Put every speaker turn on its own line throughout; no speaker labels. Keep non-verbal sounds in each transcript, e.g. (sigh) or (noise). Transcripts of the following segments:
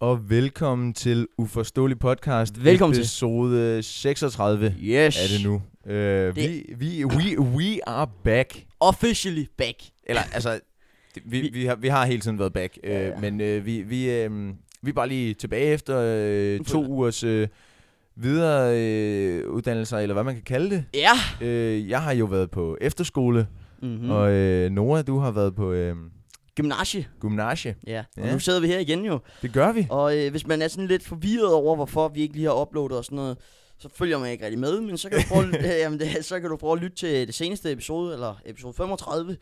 Velkommen til Uforståelig Podcast.
Velkommen til.
episode 36
Yes.
er det nu. Uh, vi, vi, we, we are back.
Officially back.
Eller altså, det- vi,
Vi-
vi, har, vi har hele tiden været back. Uh,
Ja.
Men uh, vi, vi, um, vi er bare lige tilbage efter uh, to ugers uh, videre uh, uddannelser, eller hvad man kan kalde det.
Ja.
Uh, jeg har jo været på efterskole,
Mm-hmm.
mm. og uh, Nora, du har været på uh,
Gymnasie.
gymnasie.
Ja. Og
Ja.
nu sidder vi her igen jo.
Det gør vi.
Og øh, hvis man er sådan lidt forvirret over, hvorfor vi ikke lige har uploadet og sådan noget, så følger man ikke rigtig med, men så kan du prøve,
(laughs)
øh, jamen det, så kan du prøve at lytte til det seneste episode, eller episode 35.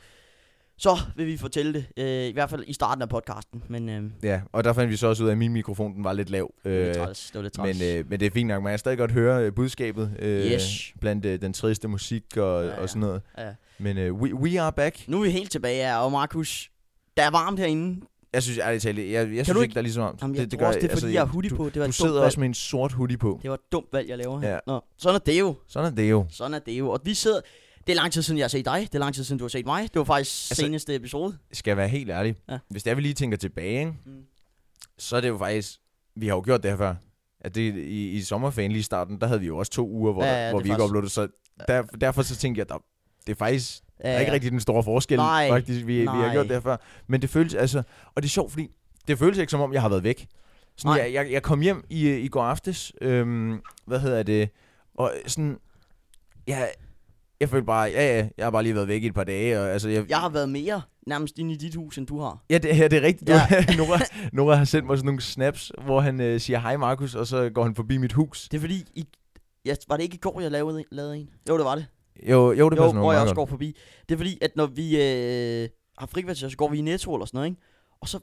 Så vil vi fortælle det, øh, i hvert fald i starten af podcasten, men øh, det
Ja, og der fandt vi så også ud af, at min mikrofon den var lidt lav.
var
Øh,
lidt træls. Det var lidt træls.
Men, øh, men det er fint nok, man kan stadig godt høre øh, budskabet øh,
Yes.
blandt øh, den triste musik og, ja,
Ja,
ja.
ja.
og sådan noget.
ja.
Men øh, we, we are back.
Nu er vi helt tilbage her, og Markus, der er varmt herinde.
Jeg synes ærligt talt, jeg, jeg synes
du
ikke,
ikke-
der er ligesom lige så varmt.
Jamen, jeg det, det tror også, det er, fordi jeg har hoodie
du,
på. Det var
altså, Du
et dumt
sidder
valg.
også med en sort hoodie på.
Det var et dumt valg, jeg laver her.
Ja.
Ja. Nå, sådan er det jo.
Sådan er det jo.
Sådan er det jo. Og vi sidder... Det er lang tid siden, jeg har set dig. Det er lang tid siden, du har set mig. Det var faktisk altså, seneste episode.
Skal jeg være helt ærlig.
Ja.
Hvis det er, vi lige tænker tilbage, ikke?
Mm.
så er det jo faktisk... Vi har jo gjort det her før. At det, i, I sommerferien lige i starten, der havde vi jo også to uger, hvor,
Ja,
ja,
ja,
ja,
det
hvor
er
vi ikke
faktisk-
uploadede. Så der, derfor så tænkte jeg, der, det er faktisk Der
Øh,
er ikke rigtig den store forskel,
Nej.
faktisk, vi, vi har
Nej.
gjort det her før. Men det føles altså... Og det er sjovt, fordi det føles ikke, som om jeg har været væk. Sådan,
Nej.
jeg, jeg, jeg kom hjem i, øh, i går aftes, øhm, hvad hedder det, og sådan... Jeg, jeg følte bare, ja, ja, jeg har bare lige været væk i et par dage, og altså... Jeg,
Jeg har været mere nærmest inde i dit hus, end du har.
Ja, det, ja, det er rigtigt. Ja.
Ja.
(laughs) Nora, Nora har sendt mig sådan nogle snaps, hvor han øh, siger, hej Markus, og så går han forbi mit hus.
Det er fordi... I, jeg, var det ikke i går, jeg lavede, en- lavede en? Jo, det var det.
Jo, jo det
jo,
passer nok
hvor jeg
meget
også
godt.
går forbi. Det er fordi, at når vi øh, har frikvarter, så går vi i Netto eller sådan noget, ikke? Og så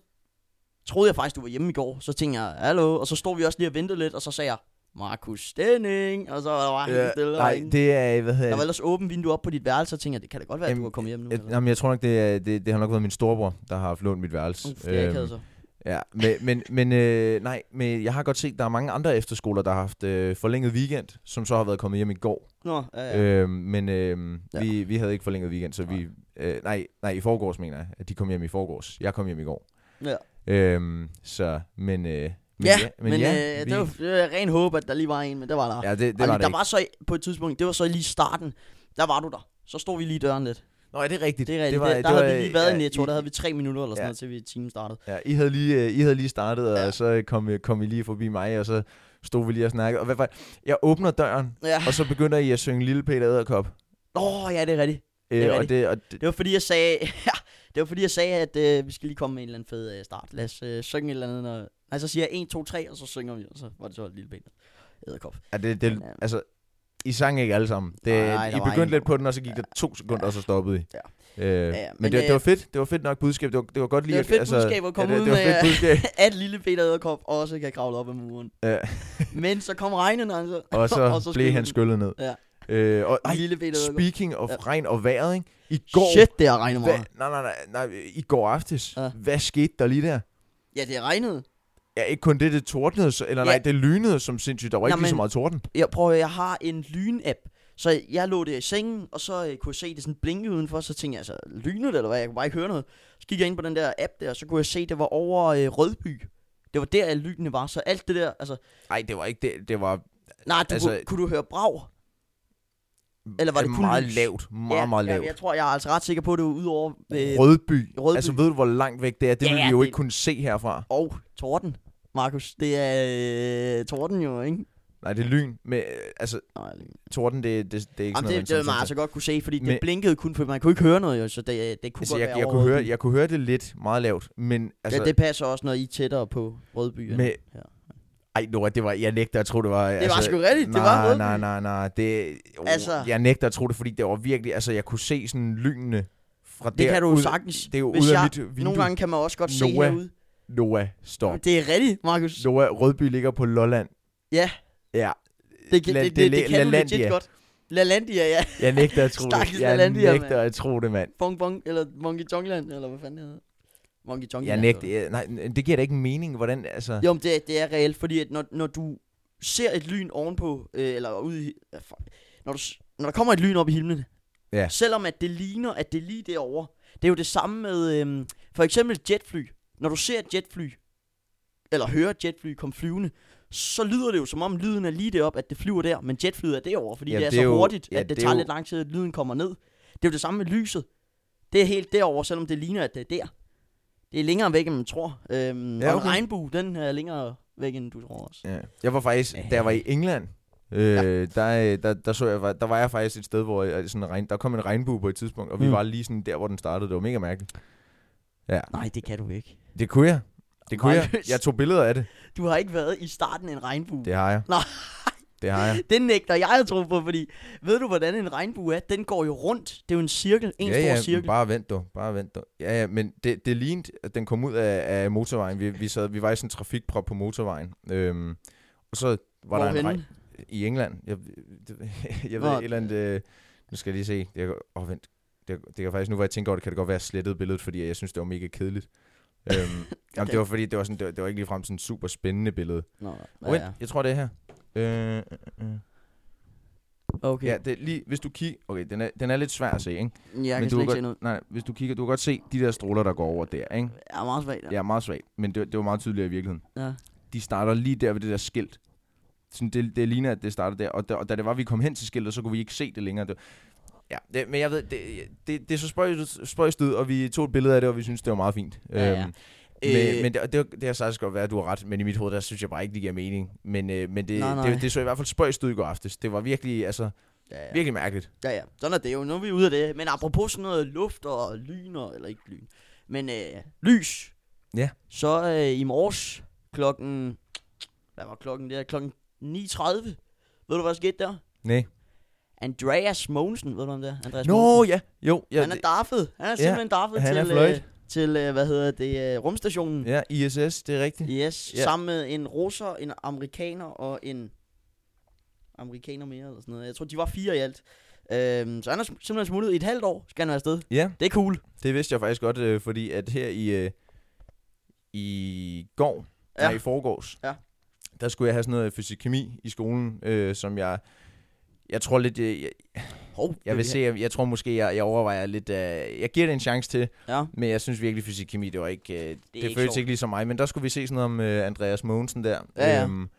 troede jeg faktisk, du var hjemme i går. Så tænkte jeg, hallo. Og så stod vi også lige og ventede lidt, og så sagde jeg, Markus Stenning. Og så var der bare helt
Ja,
stille.
Øh, nej,
derinde.
det er, hvad hedder
Der var
det?
ellers åbent vindue op på dit værelse, og tænkte jeg, det kan da godt være, at
Jamen,
du er kommet hjem nu.
Jeg,
eller-
jamen, jeg tror nok, det, er, det, det har nok været min storebror, der har haft lånt mit værelse.
Uff, det er ikke
Øhm,
altså.
Ja, men, men, men øh, nej, men jeg har godt set, at der er mange andre efterskoler, der har haft øh, forlænget weekend, som så har været kommet hjem i går.
Nå, ja, ja.
Øh, men øh,
Ja.
vi, vi havde ikke forlænget weekend, så vi... Øh, nej, nej, i forgårs mener jeg, at de kom hjem i forgårs. Jeg kom hjem i går.
Ja.
Øh, så, men... Øh, men
ja, men, men
ja,
øh,
vi,
det var det var ren håb, at der lige var en, men der var der.
ja, det, det
Og
var
der
det ikke.
var så i- på et tidspunkt, det var så lige i starten, der var du der. Så stod vi lige i døren lidt.
Nå, ja, det er rigtigt.
Det er rigtigt. Det var, der
var-
havde vi lige været
ja,
i Netto,
I-
der havde vi tre minutter eller sådan
ja.
noget, til vi timen startede.
Ja, I havde lige, øh, I havde lige startet, og
Ja.
så øh, kom, I- kom I lige forbi mig, og så stod vi lige og snakkede. Og hvad, var- jeg åbner døren,
Ja.
og så begynder I at synge Lille Peter Æderkop.
Åh, ja, det er rigtigt.
Øh,
Det er
og
rigtigt.
det, og det,
Det var fordi, jeg sagde, (laughs) ja, det var fordi, jeg sagde at øh, vi skal lige komme med en eller anden fed øh, start. Lad os øh, synge et eller andet. Og, nej, så siger jeg 1, 2, 3, og så synger vi, og så var det så et lille ben. (laughs) Æderkop.
ja, det, det
Men, øh,
altså, I sang ikke alle sammen. Det,
Nej, der
I
var
begyndte
en-
lidt på den, og så gik der to sekunder, og så stoppede I.
Ja.
Øh,
ja,
men,
men,
det, det, var
øh,
fedt. Det var fedt nok budskab. Det var, det var godt lige...
var et
at- altså,
fedt budskab at komme
ja, det,
ud
det var
med,
fedt
øh,
budskab.
(laughs) At lille Peter Æderkop også kan kravle op ad muren.
Ja,
Men så kom regnen, altså.
og
(laughs)
så, og så blev
skulle
han
den.
skyllet ned.
Ja.
Øh, og ej,
Lille Peter Ødegaard.
speaking of
Ja.
regn og vejret, ikke? I går...
Shit, det har regnet
Hva,
meget.
nej, nej, nej, nej, i går aftes.
Ja.
Hvad skete der lige der?
Ja, det har regnet.
Ja, ikke kun det, det tordnede, så- eller
Ja.
nej, det lynede som sindssygt. Der var ikke lige så
Jamen-
meget torden.
Jeg prøver, jeg har en lyn-app. Så jeg lå der i sengen, og så øh, kunne jeg se det sådan blinke udenfor, så tænkte jeg, altså, lynet eller hvad, jeg kunne bare ikke høre noget. Så gik jeg ind på den der app der, og så kunne jeg se, det var over øh, Rødby. Det var der, at lynene var, så alt det der, altså,
Nej, det var ikke det. Det var,
nej,
Altså-
du, altså, kunne, kunne du høre brag? Eller var det kun
meget
lys?
lavt. Meget,
ja,
meget
ja,
lavt.
Jeg tror, jeg er altså ret sikker på, at det var udover øh,
Rødby.
Rødby.
Altså, ved du, hvor langt væk det er? Det
Ja,
ville vi
ja,
jo
det-
ikke kunne se herfra.
og torden, Markus. Det er øh, torden jo, ikke?
Nej, det er lyn. Men, øh, altså,
Nej, det-
torden, det, det, det er ikke
Jamen,
sådan
det, det
noget,
var man altså godt kunne se, fordi det
Men-
blinkede kun, for man kunne ikke høre noget, jo, så det, det kunne
altså,
godt
jeg,
være
jeg,
over
kunne høre,
Rødby.
jeg kunne høre det lidt meget lavt, men altså...
ja, det passer også, når I er tættere på Rødby. end-
med,
Ja.
ej, Nora, det var, jeg nægter at tro, det var... Det
var sgu rigtigt, det var Rødby.
Nej, nej, nej, det, oh, altså,
Altså-
jeg nægter at tro det, fordi det var virkelig... Altså, jeg kunne se sådan lynene fra
det
der
kan du
ud,
jo sagtens.
Det er jo
Hvis
ud af
jeg-
mit vindue.
Nogle gange kan man også godt se
Noah,
herude.
Noah, stop.
Det er rigtigt, Markus.
Noah, Rødby ligger på Lolland.
Ja.
Ja.
Det, kan-
La-
det, det, det,
La-
kan du
Lalandia.
legit godt. LaLandia, ja.
Jeg nægter at tro det.
Stakkels
Jeg
Lalandia, mand.
nægter at tro det, mand.
Bong Bong, eller Monkey Jongland, eller hvad fanden det hedder. Monkey altså. Jongland.
Jeg
hedder
nægter... Nej, det giver da ikke mening, hvordan... Altså,
det. Jo, men det, det er reelt, fordi at når, når du ser et lyn ovenpå, øh, eller ude i... ja, fuck. Når, du, s- når der kommer et lyn op i himlen,
Ja.
selvom at det ligner, at det er lige derovre, det er jo det samme med øhm, for eksempel et jetfly. Når du ser et jetfly, eller hører et jetfly komme flyvende, så lyder det jo som om lyden er lige deroppe, at det flyver der, men jetflyet er derovre, fordi
Jamen,
det er,
det
så
er jo-
hurtigt,
ja,
at det,
det er
tager
jo-
lidt lang tid, at lyden kommer ned. Det er jo det samme med lyset. Det er helt derovre, selvom det ligner, at det er der. Det er længere væk, end man tror. Øhm,
Ja,
ja, okay. Og en
okay.
regnbue, den er længere væk, end du tror også.
Ja. Jeg var faktisk,
Ja.
da jeg var i England, øh, ja. der, øh, der, der, så jeg, der var jeg faktisk et sted, hvor jeg, sådan en regn, der kom en regnbue på et tidspunkt, og mm. vi
Mm.
var lige sådan der, hvor den startede. Det var mega mærkeligt. Ja,
Nej, det kan du ikke.
det kunne jeg. Det kunne
Nej,
jeg. Jeg tog billeder af det.
Du har ikke været i starten af en regnbue.
Det har jeg.
Nej.
Det har jeg.
Den nægter jeg at tro på, fordi ved du, hvordan en regnbue er? Den går jo rundt. Det er jo en cirkel, (laughs) en
ja,
stor
ja, men
cirkel.
bare vent du, bare vent du. Ja, ja, men det, det lignede, at den kom ud af, af motorvejen. Vi, vi, sad, vi var i sådan en trafikprop på motorvejen. Øhm, og så var der en
Hvorhenne?
regn i England. Jeg, det, (laughs) jeg ved
Nå.
et eller andet... Øh, nu skal jeg lige se. Det, kan- åh, vent. Det, det kan faktisk, nu hvor jeg tænker over det, kan det godt være slettet billedet, fordi jeg synes, det var mega kedeligt.
(laughs)
øhm, jamen,
Okay.
det var fordi, det var, sådan, det var, det var ikke ligefrem sådan et super spændende billede.
Nå,
Ja,
ja,
vent,
ja.
jeg tror, det er her. Øh, øh, øh.
Okay.
Ja, det er lige, hvis du kigger... Okay, den er, den er lidt svær at se, ikke?
Ja, jeg
du
kan slet
kan
ikke
godt-
se noget.
Nej, hvis du kigger, du kan godt se de der stråler, der går over der, ikke?
Jeg er meget svag der.
Ja, meget svagt, men det, det var meget tydeligere i virkeligheden.
Ja.
De starter lige der ved det der skilt. Sådan, det, det ligner, at det starter der. Og, da, og da det var, vi kom hen til skiltet, så kunne vi ikke se det længere. Det, ja, det, men jeg ved, det, det, det er så spøjst- spøjst ud, og vi tog et billede af det, og vi synes det var meget fint.
Ja, ja.
Øhm, men,
Øh,
men det, det, det har sagt godt være, at du har ret, men i mit hoved, der synes jeg bare ikke, det giver mening. Men, øh, men det,
Nej, nej.
det, det, så i hvert fald spøjst ud i går aftes. Det var virkelig, altså,
Ja, ja.
virkelig mærkeligt.
ja, ja. Sådan er det jo. Nu er vi ude af det. Men apropos sådan noget luft og lyn, og, eller ikke lyn, men øh, lys.
Ja.
Så øh, i morges klokken, hvad var klokken der? Klokken 9.30. Ved du, hvad der skete der?
Nej.
Andreas Mogensen, ved du om det er? Andreas
Nå,
Mogensen.
ja. Jo, ja,
Han er daffet. Han er simpelthen daffet
han er
til,
fløjt.
øh, til øh, hvad hedder det, øh, rumstationen.
ja, ISS, det er rigtigt.
Yes,
Ja.
yeah. sammen med en russer, en amerikaner og en amerikaner mere eller sådan noget. Jeg tror, de var fire i alt. Øhm, så han er sm- simpelthen smuttet i et halvt år, skal han være afsted.
Ja,
Det er cool.
Det vidste jeg faktisk godt, øh, fordi at her i, øh, i går, ja. nej, i forgårs,
Ja.
der skulle jeg have sådan noget fysik-kemi i skolen, øh, som jeg, jeg tror lidt, øh, jeg,
Hov,
jeg vil se, jeg, jeg tror måske, jeg, jeg overvejer lidt, øh, jeg giver det en chance til,
Ja.
men jeg synes virkelig, fysik-kemi, det var ikke, øh, det, det
ikke
føltes
sjovt.
ikke ligesom mig, men der skulle vi se sådan noget om øh, Andreas Mogensen der,
Ja, ja.
Øhm,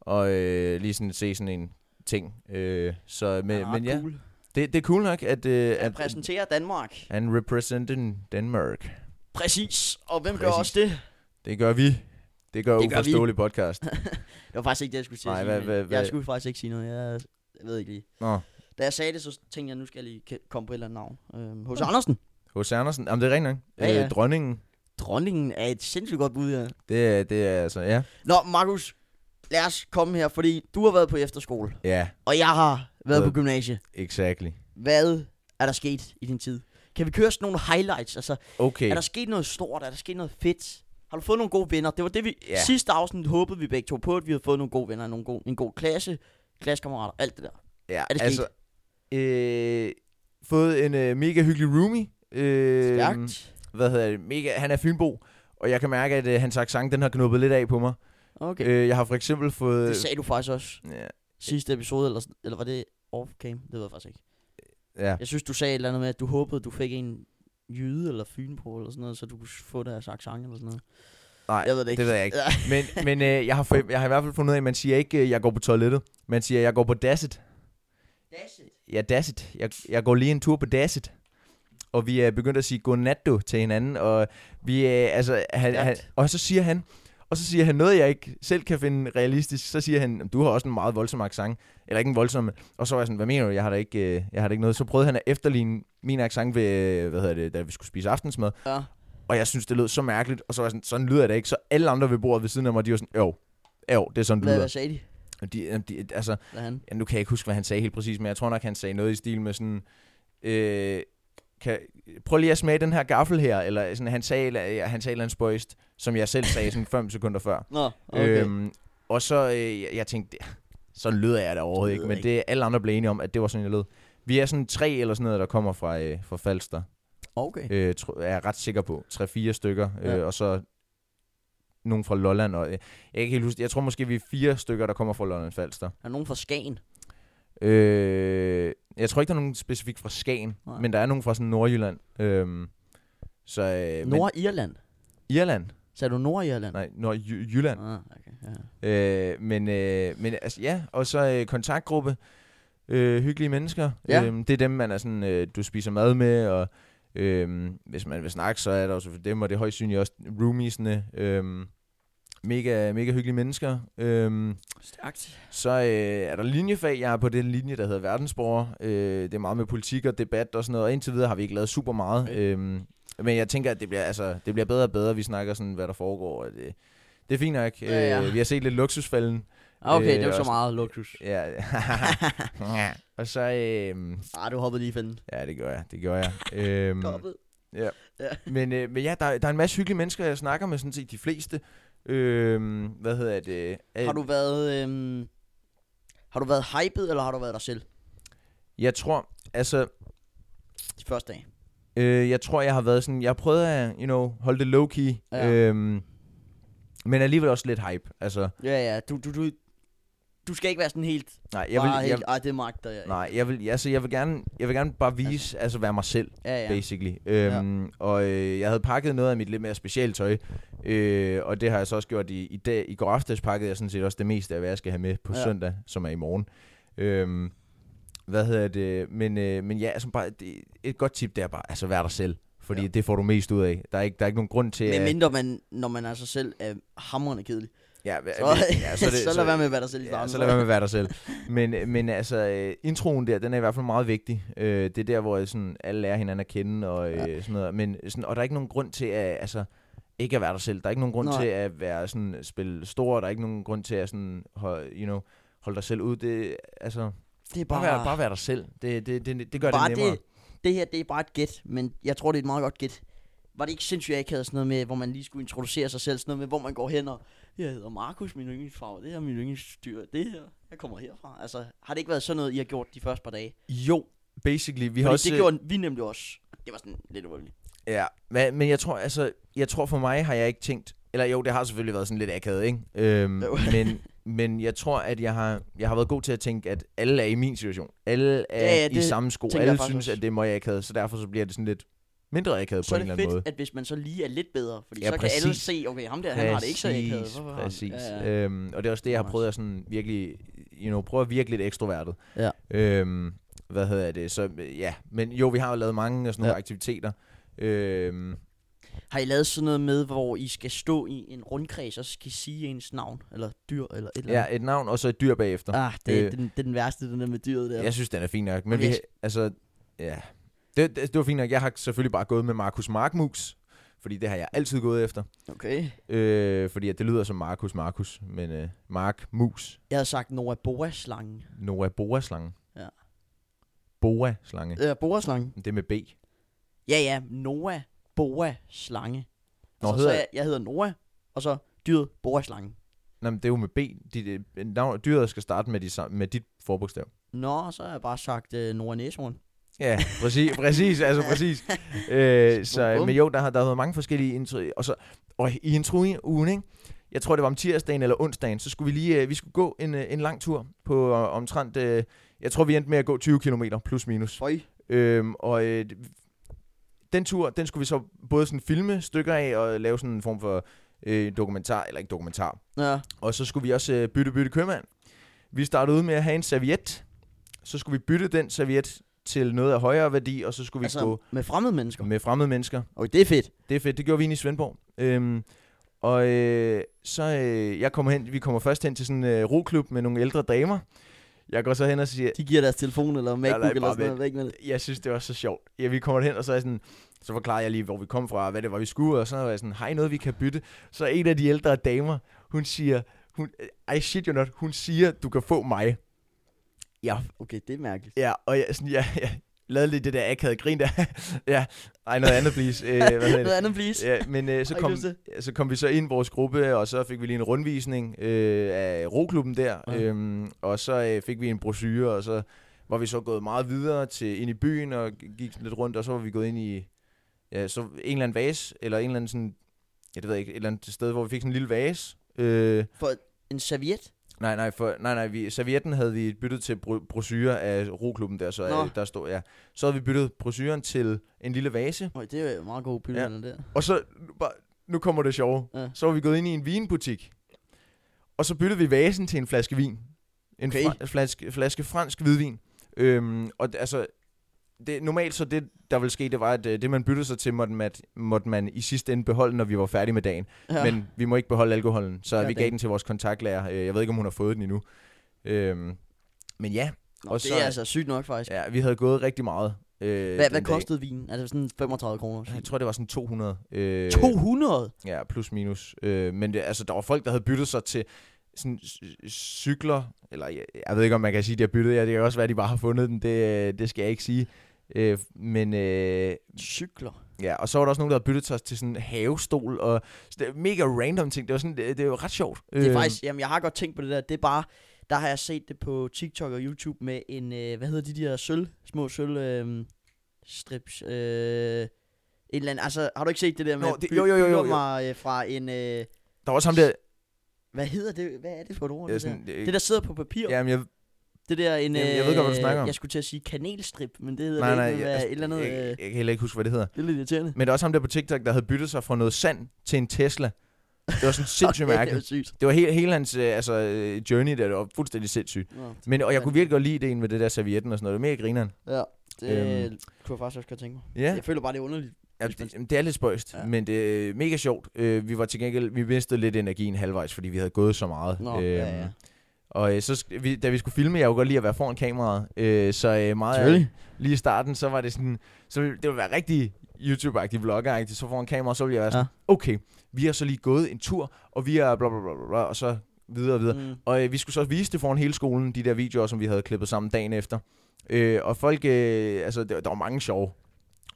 og øh, lige sådan se sådan en ting, øh, så, men,
Ah,
ja, men ja,
cool.
det, det er cool nok, at, øh,
Han
at,
præsenterer Danmark.
han representer Danmark.
Præcis. Og hvem gør
Præcis.
også det?
Det gør vi. Det gør
Det gør vi.
uforståelig
(laughs)
podcast.
Det var faktisk ikke det, jeg skulle til at
Nej,
sige.
hvad-
men
hvad-
jeg
hvad-
skulle faktisk ikke sige noget. Jeg, jeg ved ikke lige.
Nå,
Da jeg sagde det, så tænkte jeg, nu skal jeg lige ke- komme på et eller andet navn. Øhm, Hos Andersen.
H.C. Andersen. Jamen, det er rigtigt nok.
Ja, ja.
Øh, dronningen.
Dronningen er et sindssygt godt bud, ja.
Det er, det er altså, ja.
Nå, Markus, lad os komme her, fordi du har været på efterskole.
Ja,
og jeg har været
Hvad?
på gymnasiet.
exactly.
Hvad er der sket i din tid? Kan vi køre sådan nogle highlights? Altså,
Okay.
er der sket noget stort? Er der sket noget fedt? Har du fået nogle gode venner? Det var det, vi
Ja.
sidste afsnit håbede vi begge to på, at vi havde fået nogle gode venner, nogle gode, en god klasse, klassekammerater, alt det der.
ja,
er det
altså, øh, fået en øh, mega hyggelig roomie. Øh,
Stærkt.
Hvad hedder det? Mega, han er Fynbo. Og jeg kan mærke, at øh, hans accent, den har knuppet lidt af på mig.
Okay.
Øh, jeg har for eksempel fået...
det sagde du faktisk også
ja,
sidste episode, eller, sådan- eller var det off-cam? Det ved jeg faktisk ikke.
ja.
Jeg synes, du sagde et eller andet med, at du håbede, du fik en jyde eller fynbo eller sådan noget, så du kunne få deres accent eller sådan noget.
Nej,
Jeg ved det ikke.
det ved jeg ikke. (laughs) Men, men øh, jeg, har, fået- jeg har i hvert fald fundet ud af, at man siger ikke, øh, jeg går på toilettet. Man siger, jeg går på dasset. Ja, Dasset. Jeg, jeg går lige en tur på Dasset. Og vi er begyndt at sige godnatto til hinanden, og vi er, altså, han,
Stærkt.
han, og så siger han, og så siger han noget, jeg ikke selv kan finde realistisk. Så siger han, du har også en meget voldsom accent. Eller ikke en voldsom. Og så var jeg sådan, hvad mener du? Jeg har da ikke, øh, jeg har da ikke noget. Så prøvede han at efterligne min accent ved, øh, hvad hedder det, da vi skulle spise aftensmad.
Ja.
Og jeg synes, det lød så mærkeligt. Og så var jeg sådan, sådan lyder det ikke. Så alle andre ved bordet ved siden af mig, de var sådan, jo, jo, det er sådan, det
Hvad, hvad
lyder.
sagde de?
Og De, de, altså,
Hvad han?
Ja, nu kan jeg ikke huske, hvad han sagde helt præcis, men jeg tror nok, han sagde noget i stil med sådan... Øh, kan, prøv lige at smage den her gaffel her, eller sådan, han sagde, eller, han sagde et eller andet spøjst, som jeg selv sagde sådan 5 sekunder før.
Nå, okay. Øhm,
Øhm, og så, øh, jeg, jeg tænkte, "Det- sådan lyder jeg da overhovedet
Det lyder
ikke, men det alle andre blev enige om, at det var sådan, jeg lød. Vi er sådan tre eller sådan noget, der kommer fra, øh, fra Falster,
okay.
(laughs) øh, tro, er jeg ret sikker på. Tre-fire stykker, øh,
Ja.
og så nogen fra Lolland, og øh, jeg kan ikke helt huske, jeg tror måske, vi er fire stykker, der kommer fra Lolland Falster.
Er der nogen fra Skagen?
Øh, jeg tror ikke, der er nogen specifikt fra Skagen,
Nej.
Nej. men der er nogen fra sådan Nordjylland. Øhm, så, øh, men
Nordirland?
Irland.
Sagde du Nordirland?
Nej, Nordjylland.
Ah, okay. Ja.
Øh, men øh, men altså, ja, og så øh, kontaktgruppe. Øh, hyggelige mennesker.
Ja.
Øhm, det er dem, man er sådan, øh, du spiser mad med, og øhm, hvis man vil snakke, så er der også for dem, og det er højst synligt også roomiesne. Øhm, mega, mega hyggelige mennesker. Øhm,
Stærkt.
så øh, er der linjefag. Jeg er på den linje, der hedder verdensborger. Øh, det er meget med politik og debat og sådan noget, og indtil videre har vi ikke lavet super meget.
Okay.
Øhm, men jeg tænker, at det bliver, altså, det bliver bedre og bedre. Vi snakker sådan, hvad der foregår. Og det, det er fint nok.
Ja, ja.
Øh, vi har set lidt luksusfælden.
Ah, okay,
Øh,
øh, det var så
også-
meget luksus. (laughs)
Ja. og så... Øh,
Ah, du hoppede lige i fanden.
ja, det gør jeg. Det gør jeg. Øhm,
Hoppede.
men, øh, men ja, der, der er en masse hyggelige mennesker, jeg snakker med sådan set de fleste. Øhm, hvad hedder det? Øh,
Har du været... Øhm, har du været hyped, eller har du været dig selv
Jeg tror, altså...
de første dage?
Øh, jeg tror, jeg har været sådan... Jeg prøvede at, you know, holde det low-key.
Ja.
Ja. Øhm, men alligevel også lidt hype. Altså,
Ja, ja, du, du, du, du skal ikke være sådan helt...
nej, jeg
Jeg
vil,
bare vil,
jeg,
helt, Ej, det magter jeg ikke.
nej, jeg vil, altså, jeg vil gerne, jeg vil gerne bare vise, altså, altså være mig selv.
Ja, ja.
basically. Øhm, Og øh, jeg havde pakket noget af mit lidt mere specielt tøj, øh, og det har jeg så også gjort i, i dag. I går aftes pakkede jeg sådan set også det meste af, hvad jeg skal have med på
Ja.
ja. søndag, som er i morgen. Øhm, hvad hedder det? Men, øh, men ja, altså bare, det, et godt tip, det er bare, altså vær dig selv. Fordi
Ja.
ja. det får du mest ud af. Der er ikke, der er ikke nogen grund til,
Men
at...
mindre man, når man er sig selv, er hamrende kedelig.
Ja,
Så, ja, (laughs) så, det, så, lad være med, hvad der selv
Ja, så lad være med at være dig selv. Men, men altså, øh, introen der, den er i hvert fald meget vigtig. Øh, det er der, hvor øh, sådan, alle lærer hinanden at kende og øh, sådan noget. Men, sådan, og der er ikke nogen grund til at, altså, ikke at være dig selv. Der er ikke nogen grund
Nej.
Nej. til at være sådan, spille stor. Der er ikke nogen grund til at sådan, hold, you know, holde dig selv ud. Det, altså,
Det er
bare,
bare,
være, bare være dig selv. Det, det, det, det gør
bare
det nemmere.
det, det her, det er bare et gæt, men jeg tror, det er et meget godt gæt. Var det ikke sindssygt akavet sådan noget med, hvor man lige skulle introducere sig selv, sådan noget med, hvor man går hen og, jeg hedder Markus, min yndlingsfarve, det her er min yndlingsdyr, det her, jeg kommer herfra. Altså, har det ikke været sådan noget, I har gjort de første par dage?
Jo, basically. Vi
Vi
har
også...
også, øh,
det gjorde vi nemlig også. Det var sådan lidt uvoldeligt.
Ja, men, men jeg tror, altså, jeg tror for mig har jeg ikke tænkt, eller jo, det har selvfølgelig været sådan lidt akavet, ikke? Øhm,
Jo.
(laughs) men, men jeg tror, at jeg har, jeg har været god til at tænke, at alle er i min situation. Alle er
Ja,
ja,
ja,
ja, i
det
samme sko.
tænker jeg
Alle
faktisk
synes,
også.
at det er meget akavet, så derfor så bliver det sådan lidt mindre akavet
Så
på
er
en
det
eller
fedt,
anden måde.
at hvis man så lige er lidt bedre, fordi
Ja,
så kan alle
præcis.
se, okay, ham der, han har det ikke så akavet. Hvorfor har han-
Præcis,
Ja, ja.
Øhm, og det er også det, jeg har
Nice.
prøvet at sådan virkelig, you know, prøve at virke lidt ekstrovertet.
Ja.
Øhm, hvad hedder det? Så øh, ja, men jo, vi har jo lavet mange af sådan nogle
Ja.
ja. aktiviteter. Øhm,
Har I lavet sådan noget med, hvor I skal stå i en rundkreds, og så skal I sige ens navn, eller dyr, eller et eller andet?
ja, et navn og så et dyr bagefter.
Ah, det, øh,
Øh,
den, det er den værste, den der med dyret der.
Jeg synes, den er fin nok. Men
Okay.
okay. vi, altså, ja. Det, det, det var fint nok. Jeg har selvfølgelig bare gået med Markus Markmus, fordi det har jeg altid gået efter.
Okay.
Øh, fordi at det lyder som Markus Markus, men øh, Mark Mus,
Jeg havde sagt Noah Boa-slangen.
Noah Boa-slange.
Ja.
Boa-slange.
Ja, øh, Boa-slangen.
Det er med B.
Ja, ja, Noah Boa-slange.
Nå,
altså,
hedder-
så jeg, jeg hedder Noah, og så dyret Boa-slangen.
Nå, men det er jo med B. Dit, øh, navn, dyret skal starte med, de, sam- med dit forbogstav.
Nå, så har jeg bare sagt øh, Noah Næshorn.
Ja, præcis, præcis, altså præcis. Øh, så,
Bum.
men jo, der har der har været mange forskellige intro, og så og i intro-ugen, ikke? jeg tror det var om tirsdagen eller onsdagen, så skulle vi lige, øh, vi skulle gå en, øh, en lang tur på øh, omtrent, øh, jeg tror vi endte med at gå 20 km plus minus.
Føj.
Øhm, og øh, den tur, den skulle vi så både sådan filme stykker af og lave sådan en form for øh, dokumentar, eller ikke dokumentar.
Ja.
Og så skulle vi også øh, bytte bytte købmand. Vi startede ud med at have en serviet, så skulle vi bytte den serviet til noget af højere værdi, og så skulle vi
altså,
gå
med fremmede mennesker.
med fremmede mennesker.
Okay, det er fedt.
Det er fedt. Det gjorde vi inde i Svendborg. Øhm, og øh, så øh, jeg kommer hen, vi kommer først hen til sådan en øh, roklub med nogle ældre damer. Jeg går så hen og siger,
De giver deres telefon eller MacBook
nej,
eller
bare
sådan noget.
vent.
Væk med det.
jeg synes, det var så sjovt. Ja, vi kommer hen, og så er jeg sådan, så forklarer jeg lige, hvor vi kom fra, og hvad det var, vi skulle, og så var jeg sådan, har I noget, vi kan bytte? Så en af de ældre damer, hun siger, hun, I shit you not, hun siger, du kan få mig. Ja,
Okay, det er mærkeligt.
ja, og jeg, sådan, jeg, jeg lavede lige det der akavede grin der. (laughs) ja, ej, noget andet, please. Øh, hvad hedder det?
Noget andet, please.
Ja, men øh, så,
Har I
kom,
lyst til?
ja, så kom vi så ind i vores gruppe, og så fik vi lige en rundvisning øh, af roklubben der.
Ja.
Ja. Øhm, og så øh, fik vi en brochure, og så var vi så gået meget videre til ind i byen og g- gik sådan lidt rundt, og så var vi gået ind i ja, så en eller anden vase, eller en eller anden sådan, ja, det ved jeg ikke, et eller andet sted, hvor vi fik sådan en lille vase. Øh,
For en serviet.
nej, nej, for, nej, nej, vi, servietten havde vi byttet til bro- brochure af roklubben der, så
Nå.
øh, der stod, ja. Så havde vi byttet brochuren til en lille vase,
Øj, det er jo meget gode billeder, ja. der.
og så bare nu kommer det sjove.
Ja.
Ja. Så var vi gået ind i en vinbutik, og så byttede vi vasen til en flaske vin. En
Okay.
okay. fra, flaske, flaske fransk hvidvin. Øhm, og d- altså, det, normalt så det, der ville ske, det var, at øh, det, man byttede sig til, måtte man, måtte man i sidste ende beholde, når vi var færdige med dagen. Ja. Men vi må ikke beholde alkoholen, så
Ja,
ja, vi gav
det-
den til vores kontaktlærer. Øh, Jeg ved ikke, om hun har fået den endnu. Øhm, men ja,
Nå,
og
det
så-
er altså sygt nok faktisk.
ja, vi havde gået rigtig meget. Øh,
Hvad,
den
hvad
dag.
kostede vinen? Altså sådan 35 kroner.
Jeg tror, det var sådan 200. Øh,
200?
Ja, plus minus. Øh, men det, altså, der var folk, der havde byttet sig til sådan c- cykler, eller jeg, jeg ved ikke, om man kan sige, de har byttet, ja, det kan også være, de bare har fundet den, det, øh, det skal jeg ikke sige. Øh, men øh,
Cykler.
ja, og så var der også nogen, der havde byttet sig til sådan en havestol, og så det er mega random ting, det var sådan, det, det var ret sjovt.
Det er faktisk, jamen jeg har godt tænkt på det der, det er bare, der har jeg set det på TikTok og YouTube med en, øh, hvad hedder de der sølv, små sølv øh, strips, øh, et eller andet, altså har du ikke set det der med
Nå, det- jo, jo, jo, jo, jo.
nummer øh, fra en, øh,
Der var også ham der,
hvad hedder det, hvad er det for et ord?
øh,
det, der?
sådan, øh,
det der sidder på papir,
jamen, jeg,
det der en,
Jamen, jeg ved godt, hvad du
øh,
snakker om.
jeg skulle til at sige kanelstrip, men det hedder
nej,
det
nej,
ikke, men
jeg,
hvad-
altså,
et eller andet,
jeg,
øh,
jeg, kan heller ikke huske, hvad det hedder.
det er lidt irriterende.
Men der var også ham der på TikTok, der havde byttet sig fra noget sand til en Tesla. Det var sådan
(laughs)
sindssygt
Okay, Det er
mærkeligt.
sygt.
Det var hele, hele hans øh, altså, øh, journey der, det var fuldstændig sindssygt.
Nå,
Men, og jeg kunne virkelig godt lide ideen med det der servietten og sådan noget. Det var mega grineren.
ja, det
Øhm.
kunne jeg faktisk også godt tænke mig.
Ja,
Jeg føler bare, det er underligt.
ja det, det, er lidt spøjst,
Ja.
ja. men det er mega sjovt. Øh, vi var til gengæld, vi mistede lidt energien halvvejs, fordi vi havde gået så meget. Øhm,
Nå, ja, ja.
Og øh, så, sk- vi, da vi skulle filme, jeg kunne godt lide at være foran kameraet, øh, så øh, meget
Selvfølgelig.
lige i starten, så var det sådan, så ville- det ville være rigtig YouTube-agtig, vlogger så foran kameraet, så ville jeg være sådan, ja. okay, vi har så lige gået en tur, og vi er bla bla bla, bla, bla og så videre og videre.
Mm.
Og øh, vi skulle så vise det foran hele skolen, de der videoer, som vi havde klippet sammen dagen efter. Øh, og folk, øh, altså, der, der var mange sjove.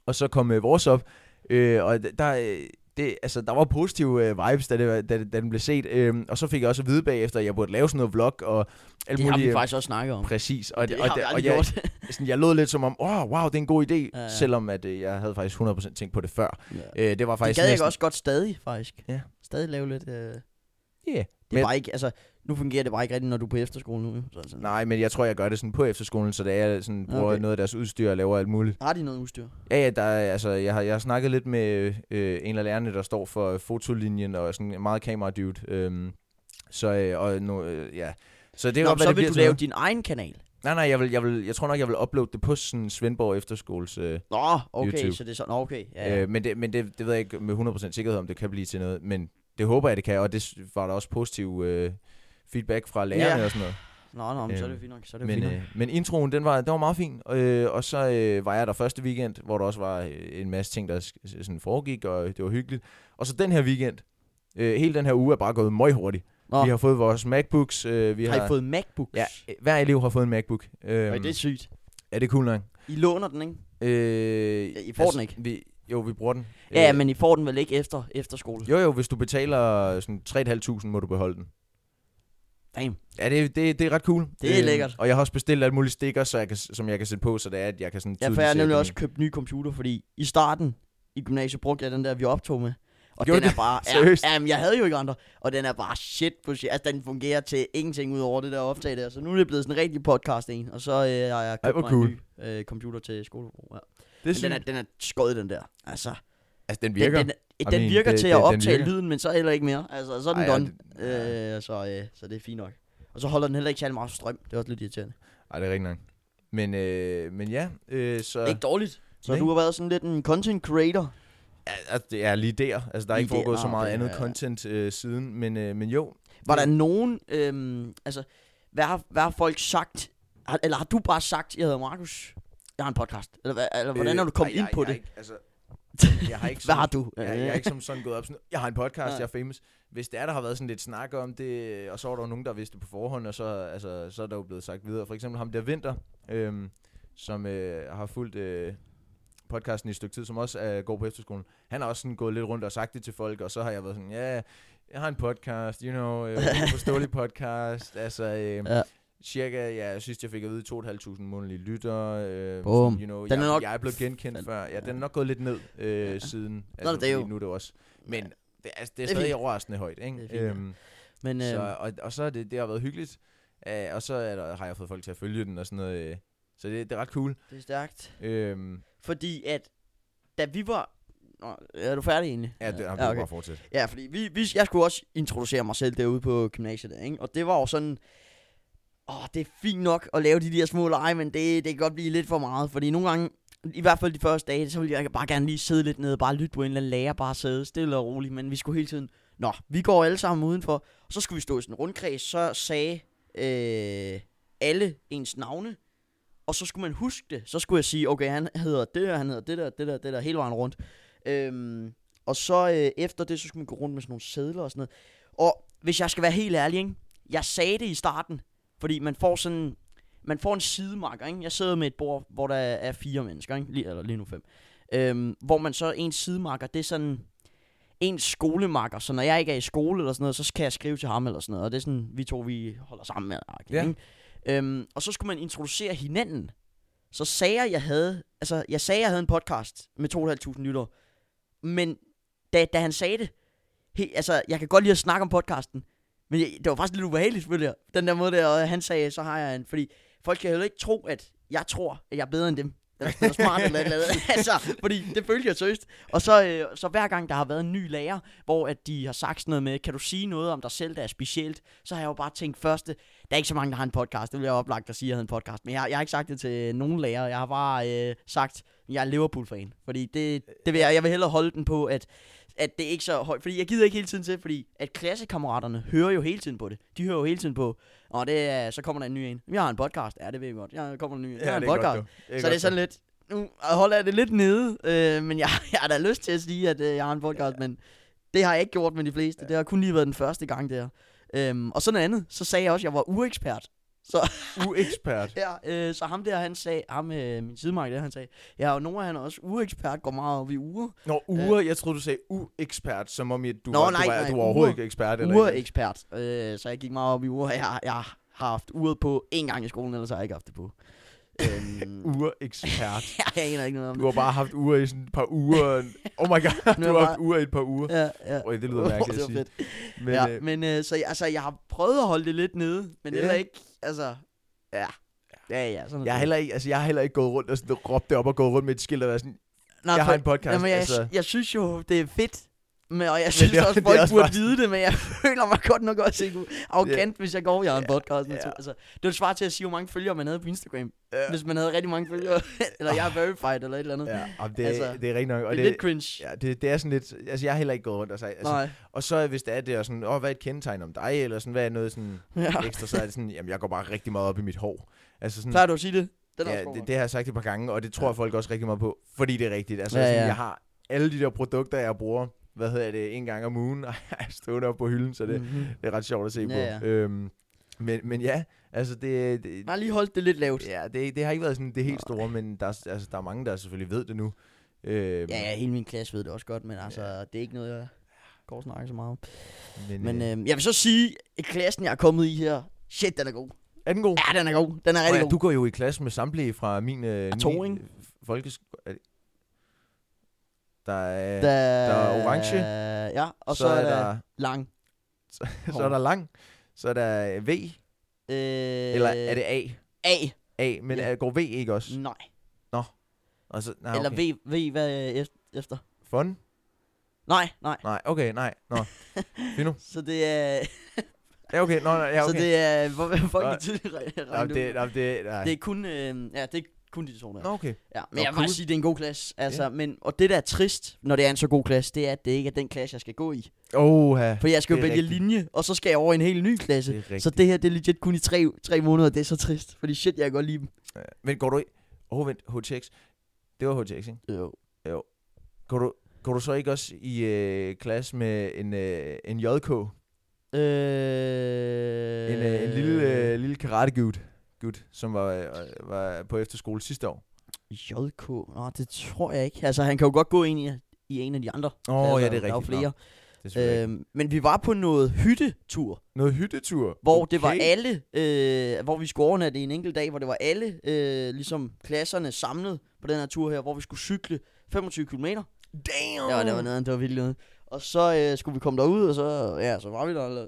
Og så kom øh, vores op, øh, og d- der, øh, det, altså, der var positive øh, vibes, da, det, var- da, det- da den blev set. Øh, og så fik jeg også at vide bagefter, at jeg burde lave sådan noget vlog og alt
Det har
muligt.
vi
øh,
faktisk også snakket om.
Præcis. Og,
Det
og,
har vi
og,
aldrig
jeg, (laughs)
gjort.
sådan, jeg lød lidt som om, oh, wow, det er en god idé, ja,
ja.
ja. selvom at, øh, jeg havde faktisk 100% tænkt på det før.
ja.
Øh, det var
Det
faktisk
gad jeg
næsten,
også godt stadig, faktisk.
Ja.
Stadig lave lidt... Øh, det
Yeah.
er
Men-
bare ikke... Altså, nu fungerer det bare ikke rigtigt, når du er på efterskole nu. jo. Så, altså,
Nej, men jeg tror, jeg gør det sådan på efterskolen, så da jeg sådan, bruger
Okay.
okay. noget af deres udstyr og laver alt muligt.
Har de noget udstyr?
Ja, ja, der, er- altså, jeg har, jeg har snakket lidt med øh, en af lærerne, der står for øh, fotolinjen og er sådan en meget kameradude. Øhm, så, øh, og nu, øh, ja. så det er
Nå,
godt, hvad
så
det
vil
bliver
du
til
lave
noget.
din egen kanal.
Nej, nej, jeg, vil, jeg, vil, jeg tror nok, jeg vil uploade det på sådan Svendborg Efterskoles... Øh,
Nå, okay,
YouTube.
så det er sådan... Nå, okay. Ja,
ja.
ja.
øh, men det, men det, det ved jeg ikke med 100% sikkerhed, om det kan blive til noget. Men det håber jeg, det kan, og det s- var der også positiv øh, feedback fra lærerne
Ja.
ja. og sådan noget.
Nå, nå, men så er
øh,
det fint nok. Så er det
Men,
fint nok.
øh, men introen, den var, den var meget fin, øh, og så øh, var jeg der første weekend, hvor der også var øh, en masse ting, der s- s- sådan foregik, og det var hyggeligt. Og så den her weekend, øh, hele den her uge er bare gået møg hurtigt.
Nå,
Vi har fået vores MacBooks. Øh, vi har,
har I fået MacBooks?
Ja, hver elev har fået en MacBook. Øh,
Øhm. det er sygt.
er det cool nok?
I låner den, ikke?
Øh,
Ja, I får den ikke?
Vi, jo, vi bruger den.
Ja, ja, men I får den vel ikke efter efterskole?
Øh. Jo, jo, hvis du betaler sådan 3.500, må du beholde den.
Damn.
Ja, det, det, det er ret cool. Øhm,
Det er lækkert.
Og jeg har også bestilt alle mulige stikker, så jeg kan, som jeg kan sætte på, så det er, at jeg kan sådan
Ja, for
tydeligt
jeg har
se,
nemlig
at
også købt ny computer, fordi i starten i gymnasiet brugte jeg den der, vi optog med. Og
Gjorde
den er
(laughs)
bare...
Seriøst?
Ja, jamen, jeg havde jo ikke andre. Og den er bare shit på shit. Altså, den fungerer til ingenting ud over det der optag der. Så nu er det blevet sådan en rigtig podcast en. Og så øh, har jeg købt
hvor
mig
cool.
en ny øh, computer til skolebrug. Ja.
Det
Men den er, den er skød, den der. Altså,
Altså, den
den,
virker.
den, den, den
mean,
virker
det-
til
det-
at
den
optage
virker.
lyden, men så heller ikke mere. Altså, så er den
Ej, ja,
done. Øh, så, øh, så det er fint nok. Og så holder den heller ikke særlig meget strøm. Det er også lidt irriterende.
Ej, det er rigtig nok. Men, øh, men ja, øh, så...
Det er ikke dårligt. Så
Nej.
du har været sådan lidt en content creator.
Ja, altså, det er lige der. Altså, der er
Lige
ikke foregået
der,
så
ah,
meget
okay,
andet
ja, ja.
content øh, siden, men, øh, men jo.
Var der
Ja.
nogen, øhm, altså, hvad har, hvad har folk sagt, har, eller har du bare sagt, jeg hedder Markus, jeg har en podcast, eller, hvad, eller hvordan er du kommet
Øh, ej,
ind
jeg,
på
jeg,
det?
er Ikke, altså, jeg har ikke
hvad
sådan,
har du?
jeg, jeg er ikke som sådan gået op sådan, jeg har en podcast,
Nej.
jeg er famous. Hvis det er, der har været sådan lidt snak om det, øh, og så var der jo nogen, der vidste det på forhånd, og så, altså, så er der jo blevet sagt videre. For eksempel ham der Vinter, øhm, som øh, har fulgt øh, podcasten i et stykke tid, som også øh, går på efterskolen. Han har også sådan gået lidt rundt og sagt det til folk, og så har jeg været sådan, ja, jeg har en podcast, you know, øh,
(laughs)
forståelig podcast, altså... Øh,
Ja.
ja. Cirka, ja, jeg synes, jeg fik at vide 2.500 månedlige lyttere. Øh,
Bum.
sådan, you know,
Den
jeg,
er nok
jeg er blevet genkendt før. Ja, den er nok gået lidt ned øh, siden.
er det jo.
Nu er det også men det, altså, det er
Det er
stadig
fint.
overraskende højt, ikke?
Det er fint, ja.
øhm,
(laughs) Men, øh,
så, og, og så er det, det har været hyggeligt, øh, og så er der, har jeg fået folk til at følge den og sådan noget. Øh, så det, det er ret cool.
det er stærkt.
Øhm,
Fordi at, da vi var, Nå, er du færdig egentlig?
Ja, det har vi
ja,
ja,
okay.
bare fortsætte.
ja fordi vi, vi, jeg skulle også introducere mig selv derude på gymnasiet der, ikke? Og det var jo sådan... Åh, det er fint nok at lave de der små lege, men det, det kan godt blive lidt for meget. Fordi nogle gange, i hvert fald de første dage, så ville jeg bare gerne lige sidde lidt nede og bare lytte på en eller anden lærer, bare sidde stille og roligt. Men vi skulle hele tiden... Nå, vi går alle sammen udenfor. Og så skulle vi stå i sådan en rundkreds, så sagde øh, alle ens navne. Og så skulle man huske det. Så skulle jeg sige, okay, han hedder det, og han hedder det der, det der, det der, hele vejen rundt. Øhm, og så øh, efter det, så skulle man gå rundt med sådan nogle sædler og sådan noget. Og hvis jeg skal være helt ærlig, ikke? jeg sagde det i starten, fordi man får sådan, man får en sidemarker, ikke? Jeg sidder med et bord, hvor der er fire mennesker, ikke? Lige, eller lige nu fem. Øhm, hvor man så, en sidemarker, det er sådan en skolemarker, så når jeg ikke er i skole eller sådan noget, så kan jeg skrive til ham eller sådan noget, og det er sådan, vi to, vi holder sammen med.
Ja.
Ikke? Øhm, og så skulle man introducere hinanden. Så sagde jeg, jeg havde, altså, jeg sagde, jeg havde en podcast med 2.500 lyttere, men da, da han sagde det, he, altså, jeg kan godt lide at snakke om podcasten, men jeg, det var faktisk lidt ubehageligt, følte jeg. Den der måde der, og han sagde, så har jeg en, fordi folk kan heller ikke tro, at jeg tror, at jeg er bedre end dem. Eller spiller smart eller et eller andet. altså, fordi det følte jeg seriøst. Og så, øh, så hver gang, der har været en ny lærer, hvor at de har sagt sådan noget med, kan du sige noget om dig selv, der er specielt, så har jeg jo bare tænkt første, der er ikke så mange, der har en podcast. Det ville jeg jo oplagt at sige, at jeg havde en podcast. Men jeg, jeg har ikke sagt det til nogen lærer. Jeg har bare øh, sagt, at jeg er Liverpool-fan. Fordi det, det vil jeg, jeg vil hellere holde den på, at, at det er ikke så højt. Fordi jeg gider ikke hele tiden til, fordi at klassekammeraterne hører jo hele tiden på det. De hører jo hele tiden på, og det er, så kommer der en ny en. Jeg har en podcast. Ja, det ved jeg godt. Jeg kommer der en ny en. Jeg har en podcast.
jo. Det
Så det er
godt,
sådan
jo.
lidt, nu holder jeg det lidt nede, øh, men jeg, (laughs) jeg har da lyst til at sige, at øh, jeg har en podcast, ja. men det har jeg ikke gjort med de fleste. Ja. Det har kun lige været den første gang der. Øhm, og sådan noget andet, så sagde jeg også, at jeg var uekspert. Så,
Uekspert.
ja, øh, så ham der, han sagde, ham, øh, min sidemark der, han sagde, ja, og Nora, han er også uekspert, går meget op i uger. (laughs)
Nå, uger, jeg troede, du sagde uekspert, som om I- du,
Nå,
var,
nej,
du, var,
nej,
du var overhovedet
uger.
ikke ekspert. Eller et eller
Urekspert. Øh, så jeg gik meget op i uger. Jeg, jeg har haft uret på en gang i skolen, ellers har jeg ikke haft det på.
andet. (laughs)
øhm, (laughs)
Urekspert.
jeg aner ikke noget om
Du har bare haft uger i sådan et par
(laughs)
uger. Oh my god,
Nu
du har
er jeg
haft uger i et par uger.
det. Ja, ja.
Øj, det
(laughs)
lyder mærkeligt
det
at
var
sige.
fedt.
Men,
ja,
øh,
men øh, så jeg- altså, jeg har prøvet at holde det lidt nede, men
Ja.
yeah. heller ikke, altså, ja. Ja, ja, sådan er
jeg, har
det.
heller ikke, altså, jeg har heller ikke gået rundt og sådan, råbt det op og gået rundt med et skilt og været sådan,
Nå,
jeg har
for-
en podcast.
Jamen, jeg,
altså.
jeg synes jo, det er fedt, men, og jeg synes
det er-
det, også,
det er
folk
også
burde
bare-
vide det, men jeg (laughs) føler mig godt nok også ikke arrogant, hvis jeg går, jeg har en
Ja,
podcast.
ja.
Yeah. Altså, det var svar til at sige, hvor mange følgere man havde på Instagram,
Ja.
yeah. hvis man havde rigtig mange følgere, (laughs) eller jeg er verified, eller et eller andet. Yeah.
øh, Ja, jamen, det, altså,
Altså,
det er rigtig nok. Og
Det er
det,
lidt cringe.
ja, det, det, er sådan lidt, altså jeg har heller ikke gået rundt og sagt, altså,
Nej.
og så hvis det er det, og sådan, åh, hvad er et kendetegn om dig, eller sådan, hvad er noget
(laughs)
sådan
Ja.
ekstra, så er det sådan, jamen jeg går bare rigtig meget op i mit hår. Altså sådan,
Plejer du at sige det? Den er
ja,
også god
det,
nok.
det, har jeg sagt et par gange, og det tror
Ja.
ja. folk også rigtig meget på, fordi det er rigtigt. Altså
Ja,
ja, sådan,
ja.
jeg har alle de der produkter, jeg bruger, hvad hedder det, en gang om ugen, (laughs) og jeg stående op på hylden, så det,
Mhm.
det er ret sjovt at se
Ja,
på. Øhm, men, men ja, altså det, det,
Jeg har lige holdt det lidt lavt.
ja, det, det har ikke været sådan det helt store, men der, er- altså, der er mange, der selvfølgelig ved det nu. Øhm,
Ja, ja, hele min klasse ved det også godt, men altså, ja. det er ikke noget, jeg går og snakker så meget om.
Men,
Men
men øh,
øh, jeg vil så sige, at klassen, jeg er kommet i her, shit, den er god.
er den god?
øh, Ja, den er god. Den er
Nå
rigtig
ja,
god.
du går jo i klasse med samtlige fra min øh,
to,
ni-
ikke?
folkesko- er det- Der er,
der, Øh,
der er orange.
Ja, og så,
så, er der,
lang.
så er der lang, så er der V,
Øh,
eller er det A?
A?
A, men
ja.
ja. går V ikke også?
Nej.
Og så, nej,
Ah, okay. Eller
okay.
V, v hvad øh, ef- efter?
Fun?
Nej, nej.
Nej, okay, nej. Nå. Fino.
Så det er,
Ja, okay, nå, nå, ja,
ja, okay. så
okay.
det er, hvor hvor folk
Nej.
kan tydeligt re-
Nå,
regne det,
det,
ud.
nå, det, nej.
Det er kun, øh, ja, det er kun de to der.
Nå, okay.
Ja,
Nå,
men jeg vil
cool.
faktisk sige, at det er en god klasse. Altså, men, og det, der er trist, når det er en så god klasse, det er, at det ikke er den klasse, jeg skal gå i.
Oha.
For jeg skal jo
Det er
vælge
rigtigt.
linje, og så skal jeg over i en helt ny klasse.
Det er rigtigt.
Så det her, det er legit kun i tre, tre måneder, det er så trist. Fordi shit, jeg kan godt lide dem.
Ja. Øh, Men går du ikke... Åh, oh, vent, HTX. Det var HTX, ikke?
Jo.
Går du, går du så ikke også i øh, klasse med en, øh, en JK?
Øh...
En, øh, en lille, øh, lille karate gut, som var, øh, var på efterskole sidste år.
JK? Nå, det tror jeg ikke. Altså, han kan jo godt gå ind i, i en af de andre.
Åh, ja,
pladser.
det Altså, er
Der er jo
rigtigt. Nå,
flere.
Det er selvfølgelig rigtigt.
Øhm, men vi var på noget hyttetur,
Noget hyttetur.
hvor
okay.
det var alle, øh, hvor vi skulle overnatte i en enkelt dag, hvor det var alle, øh, ligesom klasserne samlet på den her tur her, hvor vi skulle cykle 25 km.
Damn!
Ja, det var noget, det var virkelig noget. Og så øh, skulle vi komme derud, og så, ja, så var vi der. Eller,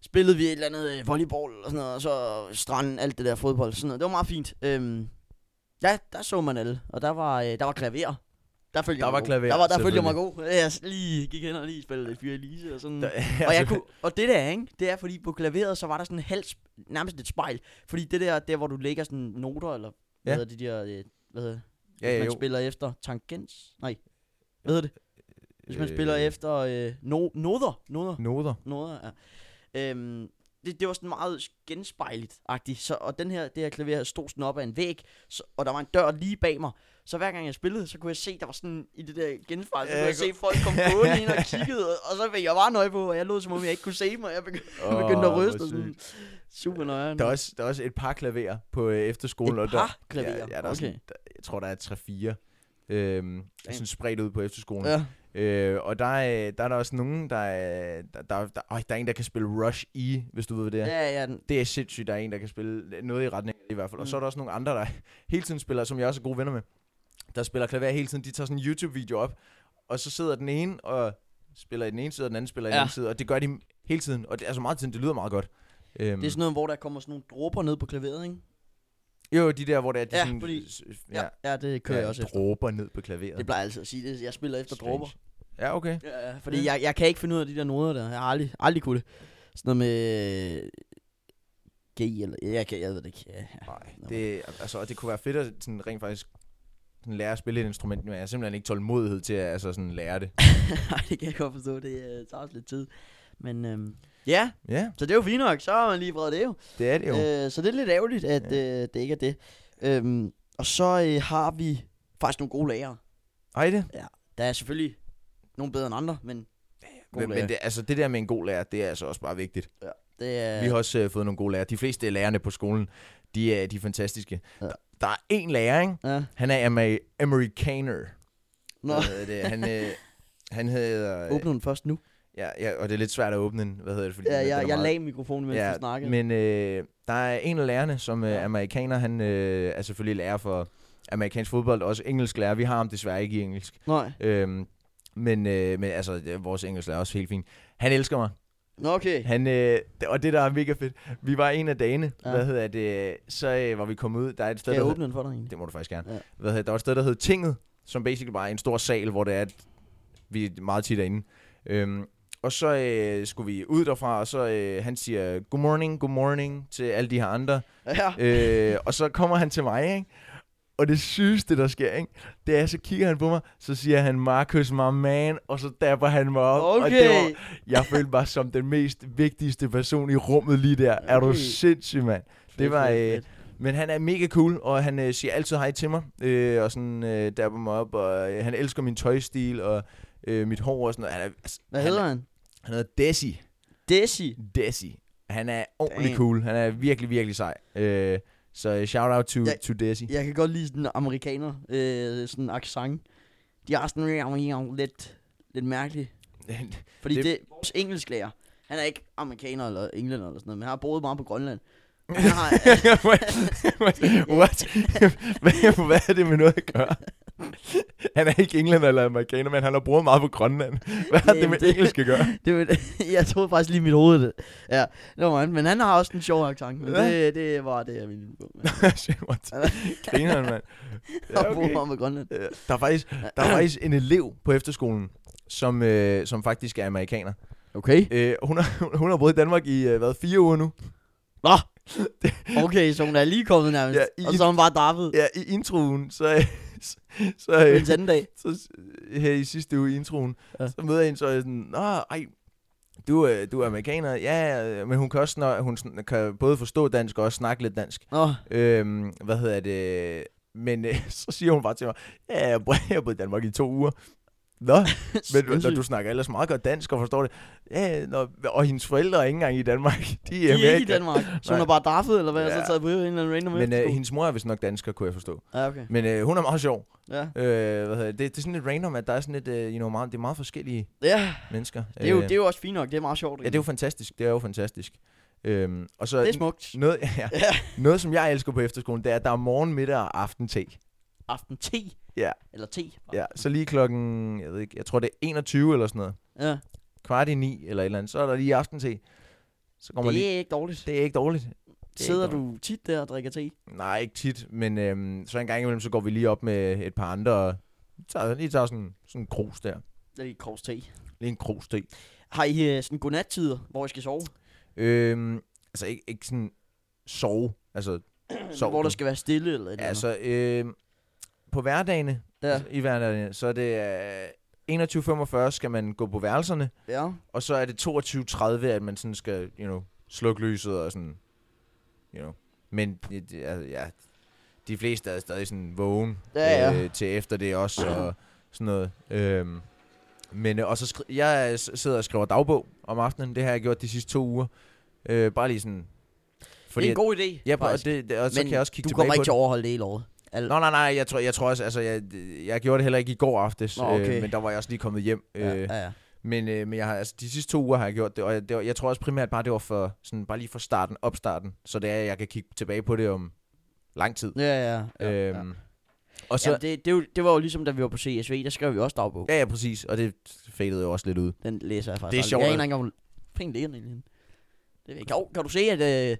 spillede vi et eller andet øh, volleyball og sådan noget, og så stranden, alt det der fodbold, sådan noget. Det var meget fint. Øhm, ja, der så man alle, og der var, øh, der var klaver. Der følte
Der
jeg
var
mig god.
klaver,
Der, var, der følte jeg mig god. Jeg s- lige gik hen og lige spillede lidt Fyre Elise og sådan.
Der,
og,
altså-
jeg kunne, og det der, ikke? Det er fordi på klaveret, så var der sådan en halv, sp- nærmest et spejl. Fordi det der, der hvor du lægger sådan noter, eller hvad
Ja.
hedder de der, øh, hvad hedder det?
Ja,
Hvis
ja,
man
jo.
spiller efter tangents? Nej. Hvad hedder det? Hvis man spiller efter øh, no, noder. Noder.
Noder.
Noder, ja. Øhm, det, det var sådan meget genspejligt-agtigt. Så, og den her, det her klaver her stod sådan op ad en væg, så, og der var en dør lige bag mig. Så hver gang jeg spillede, så kunne jeg se, der var sådan i det der genspejl, så
Ja,
kunne jeg
jeg
se folk kom gående ind og kiggede, og- og så fik jeg bare nøje på, og jeg lød som om, jeg ikke kunne se mig. (laughs) Jeg begyndte, oh, begyndte at
Åh,
ryste
hvor
og sådan super nøjeren.
Der er, også, der er også et par klaverer på øh, efterskolen.
et
og der,
par klaverer.
Ja, ja, der er
okay.
sådan, der, jeg tror, der er 3-4. Øhm, sådan spredt ud på efterskolen.
ja.
Øh, og der er, der er der også nogen, der er, der, der, der, øj, der er en, der kan spille Rush E, hvis du ved, hvad det er.
ja, ja, den,
Det er sindssygt, der er en, der kan spille noget i retning af det i hvert fald. Mm. Og så er der også nogle andre, der (laughs) hele tiden spiller, som jeg også er gode venner med, der spiller klaver hele tiden. De tager sådan en YouTube-video op, og så sidder den ene og spiller i den ene side, og den anden spiller i den
Ja.
anden side. Og det gør de hele tiden, og det er så meget tiden, det lyder meget godt. Øhm,
det er sådan noget, hvor der kommer sådan nogle dråber ned på klaveret, ikke?
jo, de der, hvor det er, de
Ja,
sådan,
fordi-
s-
Ja, ja det kører ja, jeg også efter.
dråber ned på klaveret.
Det plejer jeg altid at sige. Det, jeg spiller efter
Strange.
dråber.
Ja, okay.
Ja, ja, fordi jeg, jeg kan ikke finde ud af de der noder der. Jeg har aldrig, aldrig kunne det. Sådan noget med... øh, G eller... ja, Jeg, kan, jeg ved det ikke. Ja, ja.
Nej,
Nå.
det, altså, og det kunne være fedt at sådan, rent faktisk sådan, lære at spille et instrument, men jeg har simpelthen ikke tålmodighed til at altså, sådan, lære det.
(laughs) Nej, det kan jeg godt forstå. Det øh, tager også lidt tid. Men øhm, ja,
Ja,
så det er jo fint nok. Så har man lige vredet det jo.
det er det jo. Øh,
Øh, så det er lidt ærgerligt, at øh, det ikke er det. Øhm, og så øh, har vi faktisk nogle gode lærere.
Ej, det.
Der er selvfølgelig nogle bedre end andre, men gode
Men, men
lærere.
det, altså, det der med en god lærer, det er altså også bare vigtigt.
det er...
Ja. Vi har også øh, fået nogle gode lærere. De fleste af lærerne på skolen, de er, de er fantastiske.
Ja.
Ja. Der, der er en lærer, ikke?
Ja.
Han er ama- amerikaner.
Nå,
Hvad hedder det? Han, øh, han hedder... Øh,
åbner den først nu.
ja, ja, og det er lidt svært at åbne den, hvad hedder det? Fordi
Ja,
den er-
jeg,
den er
jeg
meget-
lagde mikrofonen, mens ja, du snakkede.
Men øh, der er en af lærerne, som øh, er amerikaner. Han øh, er selvfølgelig lærer for amerikansk fodbold, også engelsk lærer. Vi har ham desværre ikke i engelsk.
Nej.
Øhm, men, øh, men altså, det- vores engelsk lærer er også helt fint. Han elsker mig.
Nå, okay.
Han, øh, d- og det, der er mega fedt, vi var en af dagene,
Ja.
ja. hvad hedder det, øh, så øh, var vi kommet ud, der er et sted,
Skal
der
jeg
hed,
åbne den for dig egentlig?
det må du faktisk gerne,
Ja.
ja. hvad hedder, der var et sted, der hed Tinget, som basically bare er en stor sal, hvor det er, at vi er meget tit derinde. Øhm, og så øh, skulle vi ud derfra, og så øh, han siger, good morning, good morning, til alle de her andre.
Ja.
øh, og så kommer han til mig, ikke? Og det sygeste, der sker, ikke? Det er, så kigger han på mig, så siger han, Markus, my man, og så dapper han mig op. Og det var,
Okay.
jeg følte mig som den mest vigtigste person i rummet lige der. Er du
Okay.
sindssyg, mand?
Fedt,
Det var...
fedt,
Øh,
fedt.
men han er mega cool, og han øh, siger altid hej til mig, øh, og sådan øh, dapper mig op, og øh, han elsker min tøjstil, og øh, mit hår og sådan noget. Han er, altså,
Hvad
han
hedder
er,
han?
han? hedder Desi.
Desi.
Desi. Han er ordentlig
Damn.
cool. Han er virkelig, virkelig sej. Øh, så shout out to,
Ja.
to Desi.
Jeg kan godt lide sådan amerikaner, øh, sådan accent. De har sådan en lidt, lidt mærkelig. Fordi
Det-
det, det vores engelsklærer, han er ikke amerikaner eller englænder eller sådan noget, men han har boet meget på
(laughs)
Grønland. Han har,
(laughs) What? What? Hvad, hvad er det med noget at gøre? Han er ikke englænder eller amerikaner, men han har brugt meget på Grønland. Hvad har det
Jamen,
med
det-
engelsk at gøre?
(laughs)
(laughs)
det, var, (laughs) jeg troede faktisk lige i mit hoved det. Ja, det var han. Men han har også en sjov accent. Men
Ja.
det, det var det, jeg ville på. med.
Shit, What? Grineren, mand.
Han
(laughs)
har
Ja,
boet
okay.
meget på Grønland.
Øh, Der er faktisk, der er faktisk en elev på efterskolen, som, øh, som faktisk er amerikaner.
Okay.
Øh, hun, har, hun har boet i Danmark i øh, hvad, fire uger nu.
Nå!
(laughs)
Okay, så hun er lige kommet nærmest.
Ja, i-
og så er hun bare drappet.
Ja, i introen, så... (laughs) Øh, så, så, øh,
en anden dag.
så øh, her i sidste uge i introen,
Ja.
ja. så møder jeg hende, så er jeg sådan, Nå, ej, du, øh, du er amerikaner, ja, øh, men hun kan, også, når, hun sn- kan både forstå dansk og også snakke lidt dansk.
Nå,
Øhm, hvad hedder det? Men øh, (laughs) så siger hun bare til mig, ja, jeg bor- jeg har boet i Danmark i to uger. Nå,
(laughs)
men du,
Sindssygt.
du snakker ellers meget godt dansk og forstår det. Ja, nå, og hendes forældre er ikke engang i Danmark. (laughs) De er,
De er ikke i
Amerika.
Danmark. Så hun
Nej.
er bare daffet, eller hvad? Ja. Og så
Ja.
taget på en eller anden random
Men øh,
efterskole.
hendes mor er vist nok dansker, kunne jeg forstå.
Ja, okay.
Men øh, hun er meget sjov.
Ja.
Øh, hvad hedder det? Det, det er sådan lidt random, at der er sådan lidt, øh, you know, meget, det er meget forskellige
ja.
mennesker.
Det, er jo,
Øh,
det er jo også fint nok. Det er meget sjovt.
Ja, det er jo fantastisk. Det er jo fantastisk. Øhm, og så
det er smukt.
noget, (laughs) ja,
Ja.
noget, som jeg elsker på efterskolen, det er, at der er morgen, middag og aften te.
Aften te.
Ja.
Eller te.
Ja, så lige klokken, jeg ved ikke, jeg tror det er 21 eller sådan noget.
ja.
Kvart i ni eller et eller andet, så er der lige aften te. Så kommer
Det
lige...
er ikke dårligt.
Det er ikke dårligt. ikke
Sidder du tit der og drikker te?
Nej, ikke tit, men øhm, så en gang imellem, så går vi lige op med et par andre og Vi tager, lige tager sådan, sådan en krus der.
Det er lige kors te.
Lige en krus te.
Har I øh, sådan godnattider, hvor I skal
(clears throat)
sove?
Øhm, altså ikke, ikke sådan sove.
(clears throat)
Altså, Sov
hvor
du?
der skal være stille eller et eller
altså øhm, på hverdagene,
andet?
ja. i hverdagene, så er det øh, 21.45 skal man gå på værelserne,
Ja. ja.
og så er det 22.30, at man sådan skal, you know, slukke lyset og sådan, you know. Men det- det- altså, ja, de fleste er stadig sådan vågen
Ja, ja.
Øh, til efter det også og sådan noget. Øhm, men øh, og så skri- jeg øh, s- sidder og skriver dagbog om aftenen. Det har jeg gjort de sidste to uger. Øh, bare lige sådan...
det er en god idé.
ja, og,
faktisk.
det, det, og så
Men
kan jeg også kigge
du
tilbage
kommer
på
ikke
det.
til at overholde det hele året. Al-
Nå, nej, nej, jeg tror, jeg tror også, altså, jeg, jeg gjorde det heller ikke i går aftes,
Nå,
Nå,
okay.
okay. øh, men der var jeg også lige kommet hjem. Øh,
ja, ja, ja.
Men, øh, men jeg har, altså, de sidste to uger har jeg gjort det, og jeg, det var, jeg tror også primært bare, det var for, sådan, bare lige for starten, opstarten, så det er, at jeg kan kigge tilbage på det om lang tid.
Ja, ja, ja.
Ja,
ja.
øhm, Og så,
Jamen, det, det, er jo- det var jo ligesom, da vi var på CSV, der skrev vi også dagbog.
ja, ja, præcis, og det fadede jo også lidt ud.
Den læser jeg faktisk
Det er sjovt,
aldrig. Jeg
at-
aner ikke om... Fing ligger den egentlig henne? Det ved jeg ikke. Jo, kan du se, at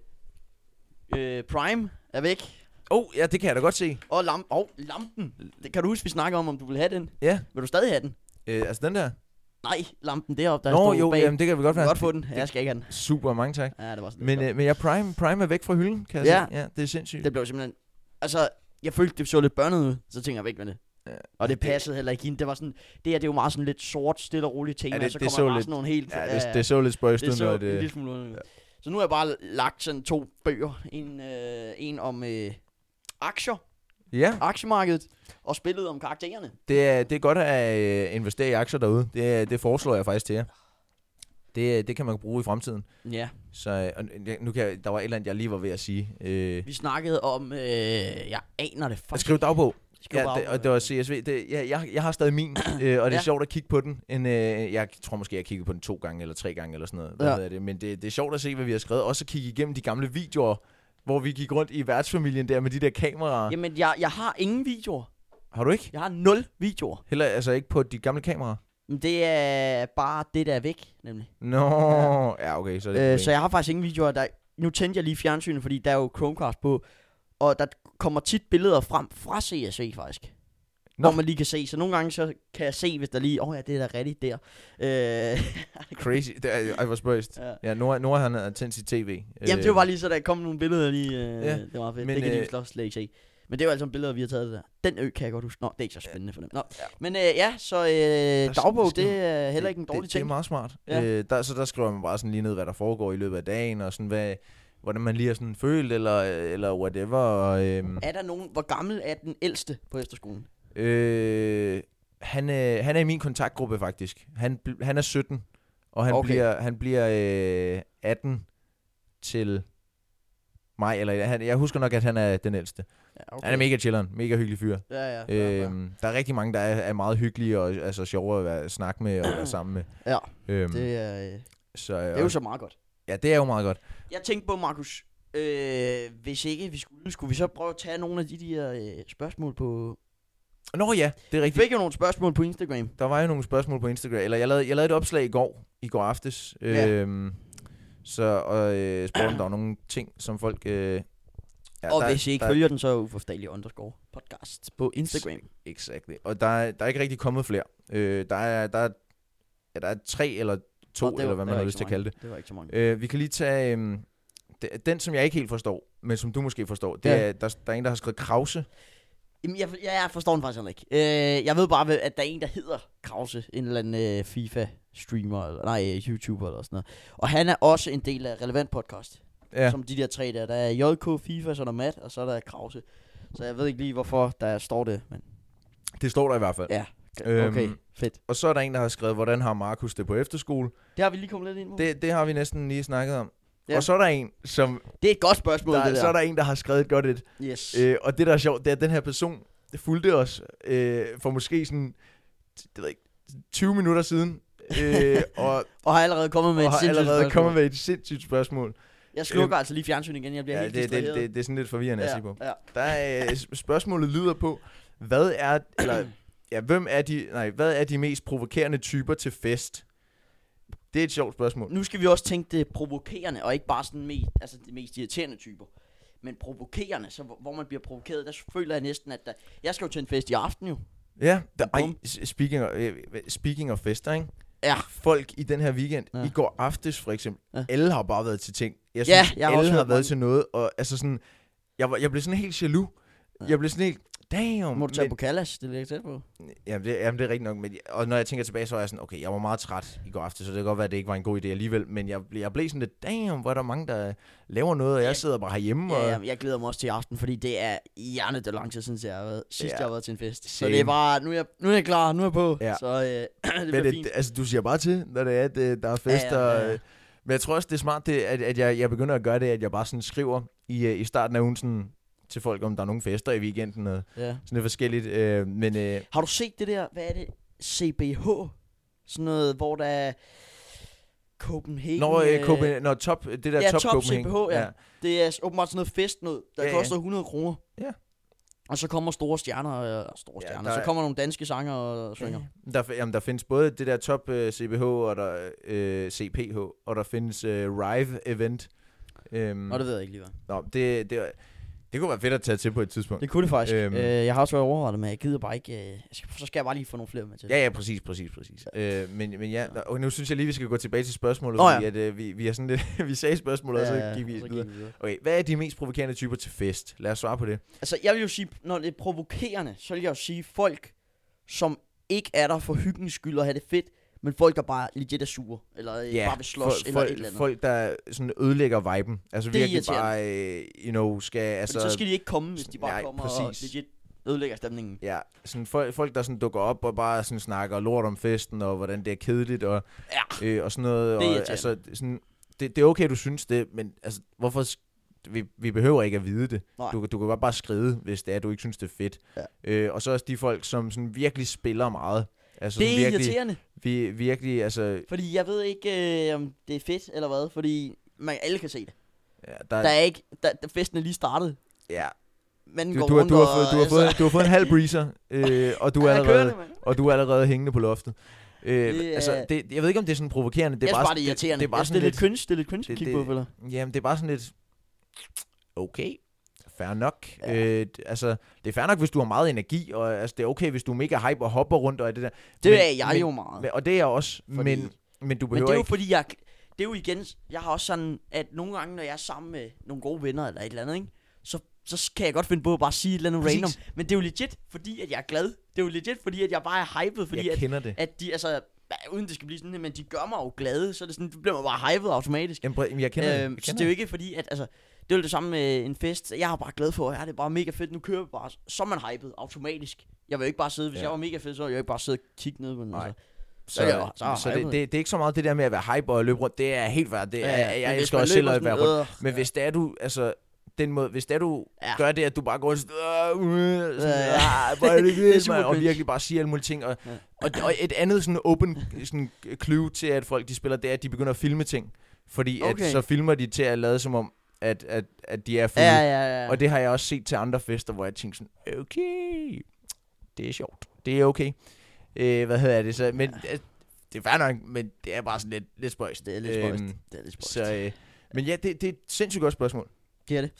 øh, øh, Prime er væk?
Åh, oh, ja, det kan jeg da godt se.
Og lamp, oh, lampen. Det, kan du huske, vi snakker om, om du vil have den?
Ja,
Vil du stadig have den?
øh, altså den der.
Nej, lampen deroppe, der
Nå,
stod
jo,
bag.
jamen, det kan vi
du
godt
kan
være.
godt få den. Ja, jeg skal ikke have den.
Super, mange tak.
Ja, det var sådan
Men,
lidt
øh, men jeg prime, prime er væk fra hylden, kan jeg
Ja.
se. Ja, det er sindssygt.
Det blev simpelthen... Altså, jeg følte, det så lidt børnet ud, så tænker jeg væk med det.
Ja.
Og det passede heller ikke ind. Det var sådan, det her, det er jo meget sådan lidt sort, stille og roligt tema,
Ja, det-
så
det
kommer
så
der bare
lidt-
sådan nogle helt...
ja, det, det så lidt spøjst
det
ud,
så
når
en
det...
lille smule underligt. Så nu har jeg bare lagt sådan to bøger. En, øh, en om øh, aktier,
Ja,
aktiemarkedet, og spillet om karaktererne.
Det er, det er godt at øh, investere i aktier derude. Det, er- det foreslår jeg faktisk til jer. Det, øh, det kan man bruge i fremtiden.
Ja.
Så øh, og n- nu kan jeg, der var et eller andet, jeg lige var ved at sige. Øh,
Vi snakkede om, øh, jeg aner det
at
faktisk.
skrive dagbog.
Skriv
Ja,
bare
det,
op,
og det var CSV. Det, ja, jeg, jeg har stadig min, øh, og det er
Ja.
ja. sjovt at kigge på den. En, øh, jeg tror måske, jeg har kigget på den to gange eller tre gange eller sådan noget. Hvad
Ja.
ja. hedder det? Men det, det er sjovt at se, hvad vi har skrevet. Også at kigge igennem de gamle videoer, hvor vi gik rundt i værtsfamilien der med de der kameraer. Jamen.
Jamen, jeg, jeg har ingen videoer.
Har du ikke?
Jeg har nul videoer.
Heller altså ikke på de gamle kameraer?
Men det er bare det, der er væk, nemlig.
Nå, ja, ja okay. Så er det et
Øh,
problem.
så jeg har faktisk ingen videoer. Der, nu tændte jeg lige fjernsynet, fordi der er jo Chromecast på. Og der kommer tit billeder frem fra CSV faktisk. Nå.
Nå.
Hvor man lige kan se. Så nogle gange så kan jeg se, hvis der lige... Åh oh, ja, det er da rigtigt der. Øh, (laughs)
Crazy. Det er, ej, hvor spøjst.
Ja.
Ja, ja Nora, Nora han har tændt sit tv.
Jamen, det var bare lige så, der kom nogle billeder lige. Øh, ja, det var fedt. Men,
Øh. men,
det kan de jo
øh,
slet- slet ikke se. Men det er jo altså nogle billeder, vi har taget det der. Den ø kan jeg godt huske. Nå, det er ikke så spændende for dem. Nå. Ja. Men øh, ja, så øh,
sådan,
dagbog,
det skal
det er heller ikke en dårlig
det,
ting.
Det er meget smart.
Ja.
Ja. Øh, der, så der skriver man bare sådan lige ned, hvad der foregår i løbet af dagen, og sådan, hvad, hvordan man lige har sådan følt, eller, eller whatever. Og, øhm,
er der nogen, hvor gammel er den ældste på efterskolen?
øh, han, øh, han er i min kontaktgruppe, faktisk. Han, bl- han er 17, og han
Okay.
okay. bliver, han bliver øh, 18 til mig. Eller, han, jeg husker nok, at han er den ældste.
Ja,
Okay. Han er mega chilleren, mega hyggelig fyr.
Ja, ja. ja,
Øhm, der er rigtig mange, der er, er meget hyggelige og altså, sjove at være, snakke med og være sammen med.
Ja,
øhm, det,
Det, er, øh, det
så, øh,
er jo så meget godt.
Ja, det er jo meget godt.
Jeg tænkte på, Markus, øh, hvis ikke vi skulle, skulle vi så prøve at tage nogle af de der øh, spørgsmål på...
Nå ja, det er
Vi
rigtigt.
fik jo nogle spørgsmål på Instagram.
Der var jo nogle spørgsmål på Instagram, eller jeg lavede, jeg lavede et opslag i går, i går aftes,
Ja.
øhm, så og, øh, spurgte, om der var nogle ting, som folk... Øh,
Ja, og
der,
hvis I ikke
der,
følger den, så er uforståelig underscore podcast på Instagram.
Exactly. Og der, er- der er ikke rigtig kommet flere. Øh, der, er, der, er, ja, der er tre eller to,
Nå, det var-
eller hvad man
det var
har
ikke
lyst
så
til at
mange.
kalde det.
Det var ikke så mange.
Øh, vi kan lige tage øhm, d- den, som jeg ikke helt forstår, men som du måske forstår. Det
Ja.
ja. er, der, der er en, der har skrevet krause.
Jamen, jeg, jeg, jeg forstår den faktisk heller ikke. Øh, jeg ved bare, hvad- at der er en, der hedder Krause, en eller anden øh, FIFA-streamer, eller, nej, øh, YouTuber eller sådan noget. Og han er også en del af Relevant Podcast, ja.
Ja.
som de der tre der. Der er JK, FIFA, så er der Matt, og så er der Krause. Så jeg ved ikke lige, hvorfor der står det, men
Det står der i hvert fald.
Ja.
Øhm,
okay, fedt.
Og så er der en, der har skrevet, hvordan har Markus det på efterskole?
Det har vi lige kommet lidt ind på. Det,
Det, det har vi næsten lige snakket om.
Ja.
Ja. Og så er der en, som
det er et godt spørgsmål,
der,
det der.
så er der en, der har skrevet et godt et.
Yes. Øh,
Øh, og det, der er sjovt, det er, at den her person fulgte os øh, for måske sådan, det ved jeg ikke, 20 minutter siden.
(laughs)
øh, og,
og har allerede kommet med
og
et
har
sindssygt
allerede
spørgsmål.
kommet med et sindssygt spørgsmål.
Jeg slukker altså lige fjernsynet igen, jeg bliver
Ja,
helt
det, det,
distraheret.
det, det er sådan lidt forvirrende at sige på.
ja, ja.
Der er, øh, sp- spørgsmålet lyder på, hvad er, eller, ja, hvem er de, nej, hvad er de mest provokerende typer til fest? Det er et sjovt spørgsmål.
Nu skal vi også tænke det provokerende, og ikke bare sådan mest, altså de mest irriterende typer. Men provokerende, så hvor, hvor man bliver provokeret, der føler jeg næsten, at der, jeg skal jo til en fest i aften jo.
Ja, der, ej,
Bum.
s- speaking of, øh, speaking of fester, ikke?
Ja.
Folk i den her weekend,
Ja.
ja. i går aftes for eksempel,
Ja.
ja. alle har bare været til ting. Jeg
Ja,
synes,
jeg har
alle
også
har
hørt
været
mange.
til noget, og altså sådan, jeg, var, jeg blev sådan helt jaloux.
Ja.
Ja. Jeg blev sådan helt, damn.
Må du tage
men,
på Kalash, det ligger tæt på.
jamen, det, jamen, det er rigtigt nok. Men, og når jeg tænker tilbage, så er jeg sådan, okay, jeg var meget træt i går aftes, så det kan godt være, at det ikke var en god idé alligevel. Men jeg, blev- jeg blev sådan lidt, damn, hvor er der mange, der laver noget, og jeg sidder bare herhjemme. Og,
Ja, ja, jeg glæder mig også til i aften, fordi det er hjernet, det er lang tid siden, jeg har været, sidst
Ja.
jeg har været til en fest. Så
Same.
det er bare, nu er jeg, nu er jeg klar, nu er jeg på.
Ja.
Så øh, (clears throat) det bliver
Men
fint.
det, altså, du siger bare til, når det er, at øh, der er fester.
Ja, ja, ja, ja.
øh, Men jeg tror også, det er smart, det, at, at jeg, jeg begynder at gøre det, at jeg bare sådan skriver i, øh, i starten af ugen sådan, til folk, om der er nogle fester i weekenden og
ja.
sådan lidt forskelligt. Øh, men øh,
Har du set det der, hvad er det? CBH? Sådan noget, hvor der er Copenhagen.
når, øh, Copen- når top, det der
ja,
top,
top
Copenhagen,
CPH, ja. Det er s- åbenbart sådan noget festnød, der ja,
Ja, ja.
koster 100 kroner.
Ja.
Og så kommer store stjerner, og store
Ja,
stjerner.
der
så
er-
kommer nogle danske sanger og synger.
Der, fi- jamen, der findes både det der top øh, CBH og der øh, CPH, og der findes øh, Rive Event. Øhm,
Nå, det ved jeg ikke lige, hvad.
nå, det, det, det kunne være fedt at tage til på et tidspunkt.
Det kunne det faktisk. Øhm.
Øhm.
Øh, jeg har også været overvejet det, men jeg gider bare ikke... Øh, jeg skal- så skal jeg bare lige få nogle flere med til.
Ja, ja, præcis, præcis, præcis. Øh, men, men ja, og nu synes jeg lige, vi skal gå tilbage til spørgsmålet,
Nå
oh,
ja.
ja. fordi at, øh, vi, vi, er sådan lidt, (laughs) vi sagde spørgsmålet, og så gik vi videre. Okay, hvad er de mest provokerende typer til fest? Lad os svare på det.
Altså, jeg vil jo sige, når det er provokerende, så vil jeg jo sige folk, som ikke er der for hyggens skyld og have det fedt, men folk, der bare legit er sure, eller ja, bare vil slås,
folk,
eller
folk,
et eller andet.
folk, der sådan ødelægger viben. Altså
Det er
virkelig bare, øh, you know, skal...
altså,
Altså,
men så skal de ikke komme, hvis de bare
nej,
kommer
præcis.
og legit ødelægger stemningen.
Ja, sådan folk, folk, der sådan dukker op og bare sådan snakker lort om festen, og hvordan det er kedeligt, og,
Ja,
øh, og sådan noget.
Det er
og,
irriterende.
altså, sådan, det, det er okay, du synes det, men altså, hvorfor... sk- Vi, vi behøver ikke at vide det.
nej.
Du, du kan godt bare skride, hvis det er, du ikke synes, det er fedt.
Ja.
Øh, og så også de folk, som sådan virkelig spiller meget. Altså,
det
sådan
er
virkelig,
irriterende,
vi, virkelig, altså,
fordi jeg ved ikke, øh, om det er fedt eller hvad, fordi man, alle kan se det.
ja, der,
Der er ikke, der, der festen er lige startet.
ja.
Man
Du,
går
du, har,
rundt
du, har,
og, altså,
fået, du, har fået, du har fået en halv
(laughs)
breezer, øh, og, du er
Ja, kører det,
allerede,
mand.
og du er allerede hængende på loftet. Øh,
Det er-
altså, det, jeg ved ikke, om det er sådan provokerende.
Det er jeg
bare,
synes bare, det er
sådan-
irriterende.
Det, det er bare
jeg synes,
sådan
det er lidt
lidt,
cringe, det er lidt cringe
det-
at kigge på,
det-
eller?
jamen, det er bare sådan lidt, okay, fair nok.
Ja.
Ja. Øh, d- altså, det er fair nok, hvis du har meget energi, og altså, det er okay, hvis du er mega hype og hopper rundt og alt det der.
Det
Men-
er jeg
men-
jo meget.
Men- Og det er jeg også,
Fordi-
Fordi... men, men du
Men
behøver
det er jo
ikke...
fordi, jeg... Det er jo igen... Jeg har også sådan, at nogle gange, når jeg er sammen med nogle gode venner eller et eller andet, ikke? Så, så kan jeg godt finde på at bare sige et eller andet
Præcis.
random. Men det er jo legit, fordi at jeg er glad. Det er jo legit, fordi at jeg bare er hypet, fordi
jeg
at,
kender det.
at de, altså... ja, Uden det skal blive sådan, her, men de gør mig jo glade, så er det sådan, det bliver man bare hypet automatisk.
Jamen, præ- jamen, jeg kender
Øhm,
det. Jeg
så
kender
det er jo ikke fordi, at altså, det er jo det samme med en fest. Jeg er bare glad for, at ja, det er bare mega fedt, nu kører vi bare. Så er man hypet automatisk. Jeg vil jo ikke bare sidde, hvis ja.
Ja.
jeg var mega fed, så ville jeg jo ikke bare sidde og kigge ned på den.
Nej.
Altså.
så,
ja, ja, så er
så, så
hypet.
det, det, det, er ikke så meget det der med at være hype og løbe rundt. Det er helt værd. Det er, ja,
Øh, men
jeg
hvis
elsker
man
også selv
løber
at være
sådan,
rundt.
"Åh,
Men hvis det er du, altså, den måde, hvis det er du
Ja.
ja. gør det, at du bare går sådan, "Åh, uh, sådan,
Ja, ja.
"Ah, hvor er det
(laughs) Det er
vildt,
super
mand," og
cringe.
virkelig bare siger alle mulige ting. Og,
Ja.
ja. og, og, et andet sådan open sådan, clue til, at folk de spiller, det er, at de begynder at filme ting. Fordi
Okay.
at, så filmer de til at lade som om, at, at, at de er fulde.
Ja, ja, ja.
Og det har jeg også set til andre fester, hvor jeg tænkte sådan, okay, det er sjovt. Det er okay. Øh, hvad hedder det så? Men ja. det er fair nok, men det er bare sådan lidt, lidt spøjst. Øhm,
Det er lidt spøjst. det er lidt spøjst.
så, øh, men ja, det, det er et sindssygt godt spørgsmål.
Det er det.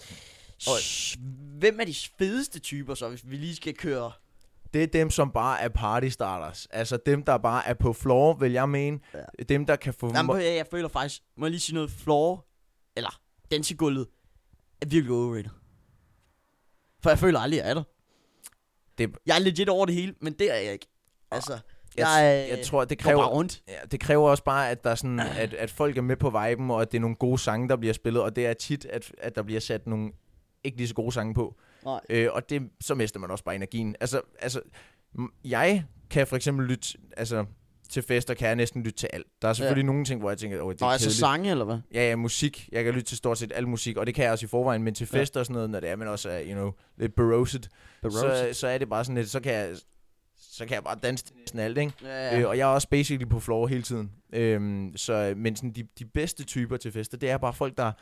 Og-
S- Hvem er de fedeste typer så, hvis vi lige skal køre?
Det er dem, som bare er partystarters. Altså dem, der bare er på floor, vil jeg mene.
Ja.
Ja. Dem, der kan få...
Jamen, jeg, jeg føler faktisk, må jeg lige sige noget, floor, eller dansegulvet, er virkelig overrated. For jeg føler aldrig, jeg er der.
Det-
Jeg er legit over det hele, men det er jeg ikke. Altså, jeg,
jeg,
jeg, øh,
jeg tror, det
går bare
kræver...
rundt.
Ja, det kræver også bare, at, der er sådan, at, at folk er med på viben, og at det er nogle gode sange, der bliver spillet, og det er tit, at, at der bliver sat nogle ikke lige så gode sange på.
Nej.
Øh, og det, så mister man også bare energien. Altså, altså, m- jeg kan for eksempel lytte, altså, til fester kan jeg næsten lytte til alt. Der er selvfølgelig ja. nogle ting, hvor jeg tænker, åh, det
Nå,
er
altså
kedeligt.
sange, eller hvad?
Ja, ja, musik. Jeg kan lytte til stort set al musik, og det kan jeg også i forvejen, men til fester og sådan noget, når det er, men også er, you know, lidt berosed, så, så er det bare sådan lidt, så kan jeg, så kan jeg bare danse til næsten alt, ikke?
ja,
Ja. Øh,
ja.
og jeg er også basically på floor hele tiden. Øhm, så, men sådan, de, de bedste typer til fester, det er bare folk, der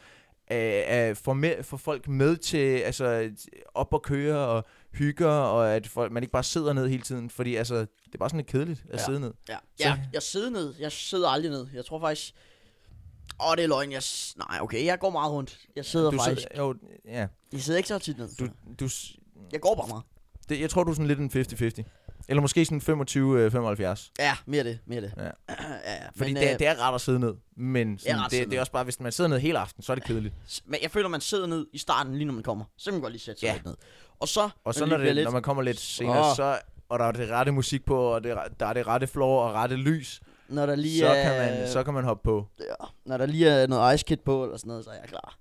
øh, øh, får, med, får folk med til altså, op og køre og hygger, og at folk, man ikke bare sidder ned hele tiden, fordi altså, det er bare sådan lidt kedeligt at
Ja.
ja. sidde ned.
ja.
så-
ja, jeg sidder ned. Jeg sidder aldrig ned. Jeg tror faktisk... Åh, det er løgn. Jeg s- Nej, okay, jeg går meget rundt. Jeg sidder
Du
faktisk...
sidder, jo, ja,
Jeg sidder ikke så tit ned.
du, du, s-
Jeg går bare meget.
det, jeg tror, du er sådan lidt en 50-50. Eller måske sådan 25-75.
Ja, mere det, mere det.
Ja.
(clears throat) ja, ja.
Fordi
men,
men, det,
øh,
er- det er rart at sidde ned. Men sådan,
ret
det,
sidde
det,
ned.
er også bare, hvis man sidder ned hele aften, så er det kedeligt.
men jeg føler, man sidder ned i starten, lige når man kommer. Så kan man godt lige sætte sig
Ja.
lidt ned. Og så,
Og så
lige
når,
bliver
det,
lidt-
når man kommer lidt senere,
Åh.
så, og der er det rette musik på, og det, der er det rette floor og rette lys,
når der lige øh,
så,
er,
kan man, så kan man hoppe på.
ja, når der lige er noget ice kit på, eller sådan noget, så er jeg klar.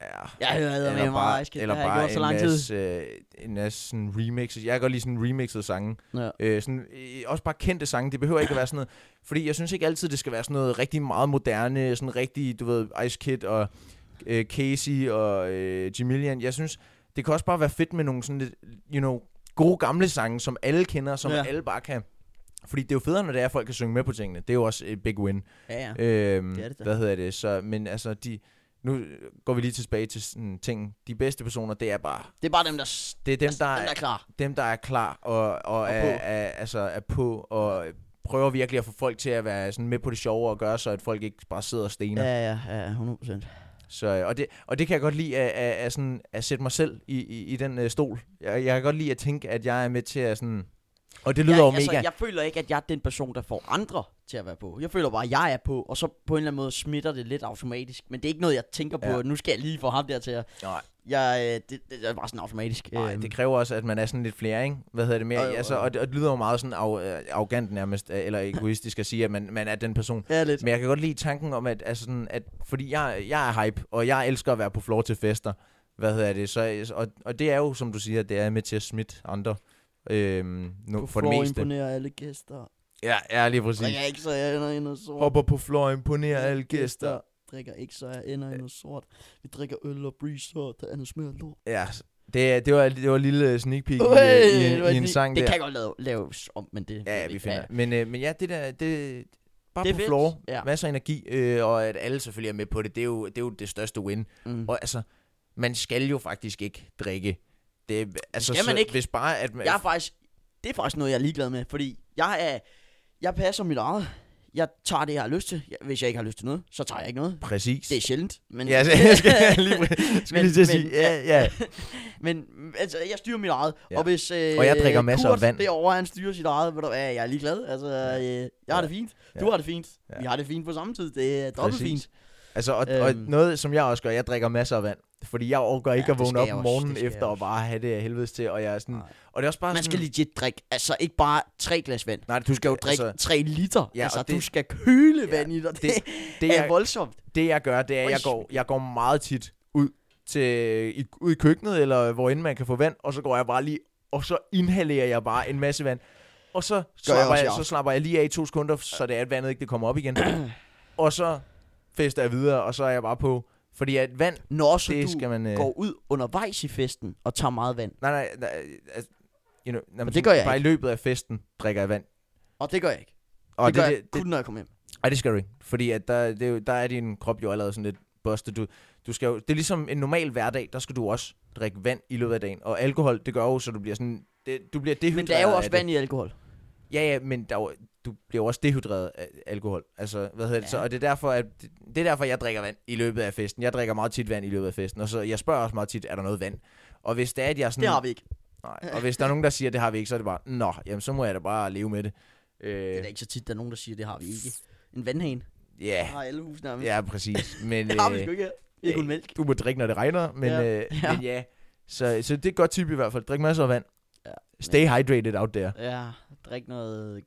Ja.
Jeg hader med meget ice kit,
eller
det har jeg
bare
gjort så
en
lang tid.
masse, øh, en masse sådan remixes. Jeg kan godt lide sådan remixede sange.
Ja.
Øh, sådan, øh, også bare kendte sange. Det behøver ikke at være sådan noget. Fordi jeg synes ikke altid, det skal være sådan noget rigtig meget moderne. Sådan rigtig, du ved, Ice Kid og øh, Casey og øh, Jamilian. Jeg synes, det kan også bare være fedt med nogle sådan lidt, you know, gode gamle sange, som alle kender, som
Ja.
ja. alle bare kan. Fordi det er jo federe, når det er, at folk kan synge med på tingene. Det er jo også et big win.
Ja, ja.
Øhm,
Det er det da.
hvad hedder det? Så, men altså, de, nu går vi lige tilbage til sådan ting. De bedste personer, det er bare
Det er bare dem, der, s-
det er dem,
altså,
der,
dem, der er
er,
klar.
dem, der er klar og, og, og er,
på.
er, altså, er på og prøver virkelig at få folk til at være sådan med på det sjove og gøre så, at folk ikke bare sidder og stener. Ja.
Ja, ja, ja, 100%.
Så, øh, og, det, og det kan jeg godt lide at, at, at, sådan, at sætte mig selv i, i, i den øh, stol. Jeg, jeg kan godt lide at tænke, at jeg er med til at sådan... Og det lyder
jeg,
jo mega...
altså, jeg føler ikke, at jeg er den person, der får andre til at være på. Jeg føler bare, at jeg er på, og så på en eller anden måde smitter det lidt automatisk. Men det er ikke noget, jeg tænker på,
Ja.
ja. nu skal jeg lige få ham der til at...
Nej.
Jeg, øh, det, det, er bare sådan automatisk.
Nej,
øhm.
det kræver også, at man er sådan lidt flere, ikke? Hvad hedder det mere?
Jo, jo,
altså,
jo.
og, det, og det lyder jo meget sådan af, øh, arrogant nærmest, øh, eller egoistisk at sige, at man, man er den person.
Ja, lidt.
Men jeg kan godt lide tanken om, at, altså sådan, at fordi jeg, jeg er hype, og jeg elsker at være på floor til fester, hvad hedder det, så, og, og det er jo, som du siger, det er med til at smitte andre øhm, nu, for det meste.
imponere alle gæster.
Ja, ja, lige præcis.
Drikker ikke, så jeg ender i noget sort.
Hopper på floor, imponerer alle gæster. Øh.
Drikker ikke, så jeg ender i noget sort. Vi drikker øl og breezer, og der er noget smager lort.
Ja, det, det, var, det var en lille øh, sneak peek
Øj,
i, i,
det
en-
var
i, en
lige-
sang
Det
der.
kan godt lave, laves om, men det...
Ja, ja, vi finder. Ja. Men, øh, men ja, det der, det bare
Det
det
er
på
fedt.
floor,
Ja.
ja. masser af energi, øh, og at alle selvfølgelig er med på det, det er jo det, er jo det største win.
Mm.
Og altså, man skal jo faktisk ikke drikke. Det, altså,
skal man
så,
ikke.
Hvis bare, at man,
Jeg er faktisk, det er faktisk noget, jeg er ligeglad med, fordi jeg er, jeg passer mit eget. Jeg tager det, jeg har lyst til. Jeg- Hvis jeg ikke har lyst til noget, så tager jeg ikke noget.
Præcis.
Det er sjældent, men...
Ja, så, (laughs) jeg skal
(laughs)
lige, skal
Men-
lige til at sige,
men-
ja, ja.
Men altså, jeg styrer mit eget, ja.
Ja.
og hvis øh,
Og jeg drikker masser af
Kurt
vand.
derovre, han styrer sit eget, ved du hvad, jeg er ligeglad. Altså, øh, jeg har
Ja.
det fint, du
Ja.
har det fint,
Ja.
vi har det fint på samme tid, det er dobbelt
Præcis.
fint.
Altså, og, og
Øhm.
noget, som jeg også gør, jeg drikker masser af vand. Fordi jeg overgår ikke
Ja,
at
det
vågne
skal
op
jeg
om
også, det
morgenen
skal jeg
efter og
også.
bare have det af helvedes til. Og, jeg er sådan,
Nej.
og det er også bare
Man
sådan,
skal legit drikke, altså ikke bare tre glas vand.
Nej, du skal jo
Drik altså, tre liter, ja,
ja,
altså
og det-
du skal køle
Ja,
vand i dig, det,
det-
det er, er voldsomt.
Det jeg gør, det er, at jeg
Oj.
går, jeg går meget tit ud, til, i, ud i køkkenet, eller hvor end man kan få vand, og så går jeg bare lige, og så inhalerer jeg bare en masse vand. Og så
jeg
slapper,
også
jeg,
i
så
aften.
slapper jeg lige af i to sekunder, så det er, at vandet ikke det kommer op
(clears throat)
igen. og så fester jeg videre, og så er jeg bare på. Fordi at vand,
Når så
det
du
skal man... Øh,
går ud undervejs i festen og tager meget vand,
Nej, nej, nej. Altså, you know, nej, men
det gør jeg
bare i løbet af festen drikker jeg vand.
og det gør jeg ikke.
Og
det, gør
det,
jeg kun, når jeg kommer hjem.
Nej, det skal du ikke. Fordi at der, det er jo, der er din krop jo allerede sådan lidt busted. Du, du skal jo, det er ligesom en normal hverdag, der skal du også drikke vand i løbet af dagen. Og alkohol, det gør jo, så du bliver sådan... Det, du bliver dehydreret
Men der er jo også
af det.
vand i alkohol.
Ja, ja, men der, er jo- du bliver jo også dehydreret af alkohol. Altså, hvad hedder det så?
Ja.
Og det er, derfor, at, det er derfor, jeg drikker vand i løbet af festen. Jeg drikker meget tit vand i løbet af festen. Og så, jeg spørger også meget tit, er der noget vand? Og hvis det er, at jeg er sådan...
Det har vi ikke.
Nej. Og hvis der er nogen, der siger, det har vi ikke, så er det bare, nå, jamen, så må jeg da bare leve med det.
Det
Øh,
er da ikke så tit, der er nogen, der siger, det har vi ikke. En vandhane.
ja,
har alle hus nærmest.
ja, præcis. Men,
(laughs) Det har vi
øh,
sgu ikke her. Ikke kun mælk.
du må drikke, når det regner, men
Ja.
ja. Øh,
Ja.
ja. Men ja. Så, så det er et godt tip i hvert fald. Drik masser af vand.
Ja.
Ja. Stay hydrated out there.
Ja, drik noget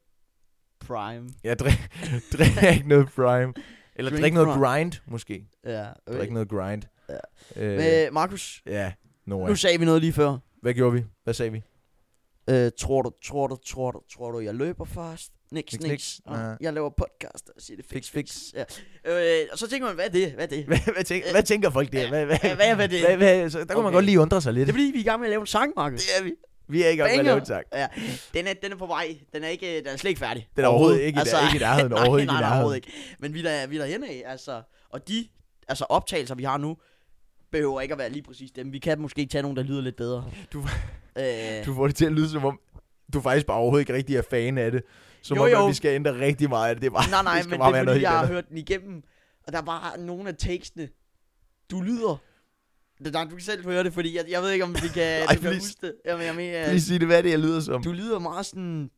prime.
Ja, drik, (laughs) drik noget prime. Eller
Drink
drik noget
prime.
grind, måske.
Ja, okay.
Drik noget grind.
Ja.
Øh,
Men Markus,
ja, Noah.
nu sagde vi noget lige før.
Hvad gjorde vi? Hvad sagde
(laughs)
vi?
Øh, tror du, tror du, tror du, tror du, jeg løber fast? Niks,
Niks,
niks.
niks.
Og
Nej.
Jeg laver podcast og siger det fix,
Fix,
fix. Ja. Øh, og så tænker man, hvad er det? Hvad er det?
Hvad, hvad, tænker, hvad tænker folk der? Hvad, hvad,
Hvad, hvad, hvad er det?
hvad, hvad, så, der okay. kunne man
Okay.
godt lige undre sig lidt.
Det er fordi, vi er i gang med at lave en sang, Markus.
er vi. Vi er ikke oppe at
Banger.
lave en sang.
Ja, den er, den er på vej. Den er, ikke, øh, den er slet ikke færdig.
Den er overhovedet ikke i- ikke i nærheden.
nej,
Overhovedet ikke i
(laughs) nej, nej,
nærheden.
overhovedet ikke. Men vi er der, vi er derhenne af, altså. Og de altså, optagelser, vi har nu, behøver ikke at være lige præcis dem. Vi kan måske tage nogle, der lyder lidt bedre.
(laughs) Du-
øh,
Du får det til at lyde som om, du faktisk bare overhovedet ikke rigtig er fan af det. Som
Jo,
om,
jo.
at vi skal ændre rigtig meget af det. det er bare,
nej, nej,
det skal
men
bare
det
være
er
noget
fordi,
helt
jeg har
andet.
hørt den igennem. Og der er bare nogle af tekstene. Du lyder. Det, nej, du kan selv høre det, fordi jeg, jeg ved ikke, om vi kan,
(laughs) Ej,
du kan
please.
huske det. Jamen, jeg mener,
Øhm, Lige sige det, hvad det er, jeg lyder som.
du lyder meget sådan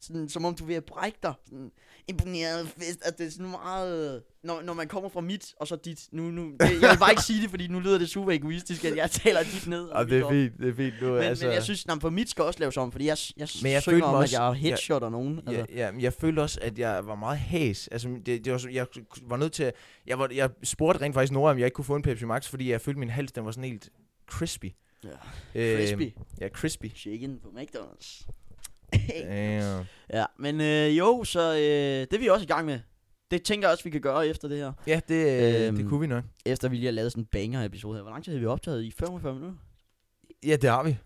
sådan, som om du er ved at brække dig. Sådan, imponeret fest, at det er sådan meget... Når, når man kommer fra mit, og så dit, nu, nu, det, jeg vil bare ikke sige det, fordi nu lyder det super egoistisk, at jeg taler dit ned. og
Og
mit
det er
op.
fint, det er fint nu.
Men,
altså,
altså... men jeg synes, at for mit skal også laves om, fordi jeg, jeg,
Men
men
jeg
jeg
følte
synger om,
mig
at
også-
jeg headshotter nogen. Altså.
Ja, ja, men jeg følte også, at jeg var meget hæs. Altså, det, det var, så- jeg var nødt til at, jeg, var, jeg spurgte rent faktisk Nora, om jeg ikke kunne få en Pepsi Max, fordi jeg følte, min hals den var sådan helt crispy.
Ja.
Øh,
Crispy.
Ja, crispy. Øhm,
Chicken på McDonald's.
Ja.
ja, men øh, jo, så øh, det er vi også i gang med. Det tænker jeg også, vi kan gøre efter det her.
Ja, det, øh, det
Øhm.
kunne vi nok.
Efter vi lige har lavet sådan en banger-episode her. Hvor lang tid havde vi optaget? I 45 minutter?
Ja, det har vi.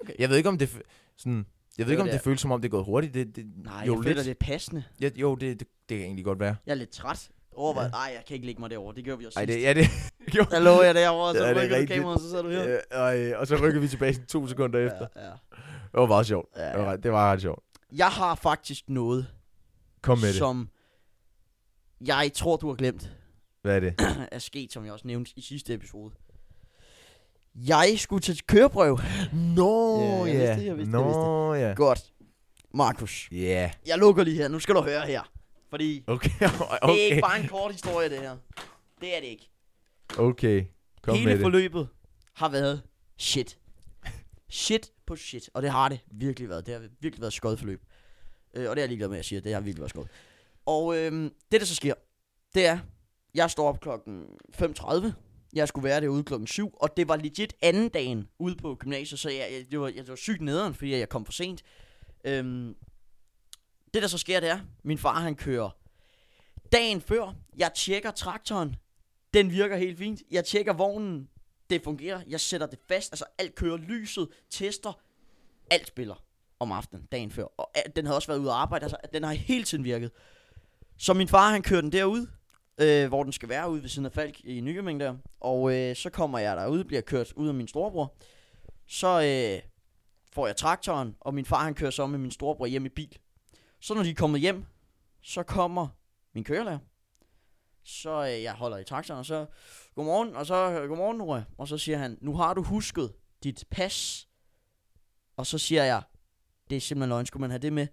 Okay.
Jeg ved ikke, om det, f- sådan, jeg ved
var
ikke, om det
der.
føles som om, det er gået hurtigt. Det, det,
Nej,
jo,
jo, jeg føler,
lidt.
det er passende.
Ja, jo, det, det, det kan egentlig godt være.
Jeg er lidt træt. Overvej,
Ja.
nej, jeg kan ikke lægge mig derovre. Det gjorde vi også
Ej,
sidst.
det, ja, det, jo.
Der lå (laughs) jeg derovre, og så
Ja, det er
rykkede du
rigtigt.
kameraet, og så sad du her.
Ja, og, øh, og så rykker vi tilbage sådan to sekunder efter.
Ja, ja.
Det var meget sjovt.
Ja,
Det var,
ja.
ret- det var ret sjovt.
Jeg har faktisk noget,
Kom med det.
som jeg tror, du har glemt.
Hvad er
(clears throat)
det?
er sket, som jeg også nævnte i sidste episode. Jeg skulle til køreprøve.
Nå,
Ja, jeg vidste det, jeg vidste det, jeg
Nå, ja.
Godt. Markus,
Ja.
jeg lukker lige her. Nu skal du høre her. Fordi
Okay, (laughs)
okay. det er ikke
okay.
bare en kort historie, det her. Det er det ikke.
Okay, kom
Hele
med det.
forløbet har været shit. Shit på shit. Og det har det virkelig været. Det har virkelig været et skødt forløb. Øh, og det er jeg ligeglad med, at jeg siger. Det har virkelig været skødt. Og øhm, det, der så sker, det er, jeg står op klokken 5.30. Jeg skulle være derude klokken 7, og det var legit anden dagen ude på gymnasiet, så jeg, jeg, det, var, jeg, det var sygt nederen, fordi jeg kom for sent. Øhm, det, der så sker, det er, min far han kører dagen før, jeg tjekker traktoren, den virker helt fint. Jeg tjekker vognen. Det fungerer. Jeg sætter det fast. Altså alt kører. Lyset, tester. Alt spiller om aftenen, dagen før. Og al- den havde også været ude at arbejde. Altså den har hele tiden virket. Så min far, han kører den derud. Øh, hvor den skal være ude ved siden af Falk i Nykøbing der. Og øh, så kommer jeg derud, bliver kørt ud af min storebror. Så øh, får jeg traktoren, og min far han kører så med min storebror hjem i bil. Så når de er kommet hjem, så kommer min kørelærer. Så øh, jeg holder i traktoren, og så godmorgen, og så øh, godmorgen, Nora. Og så siger han, nu har du husket dit pas. Og så siger jeg, det er simpelthen løgn, skulle man have det med?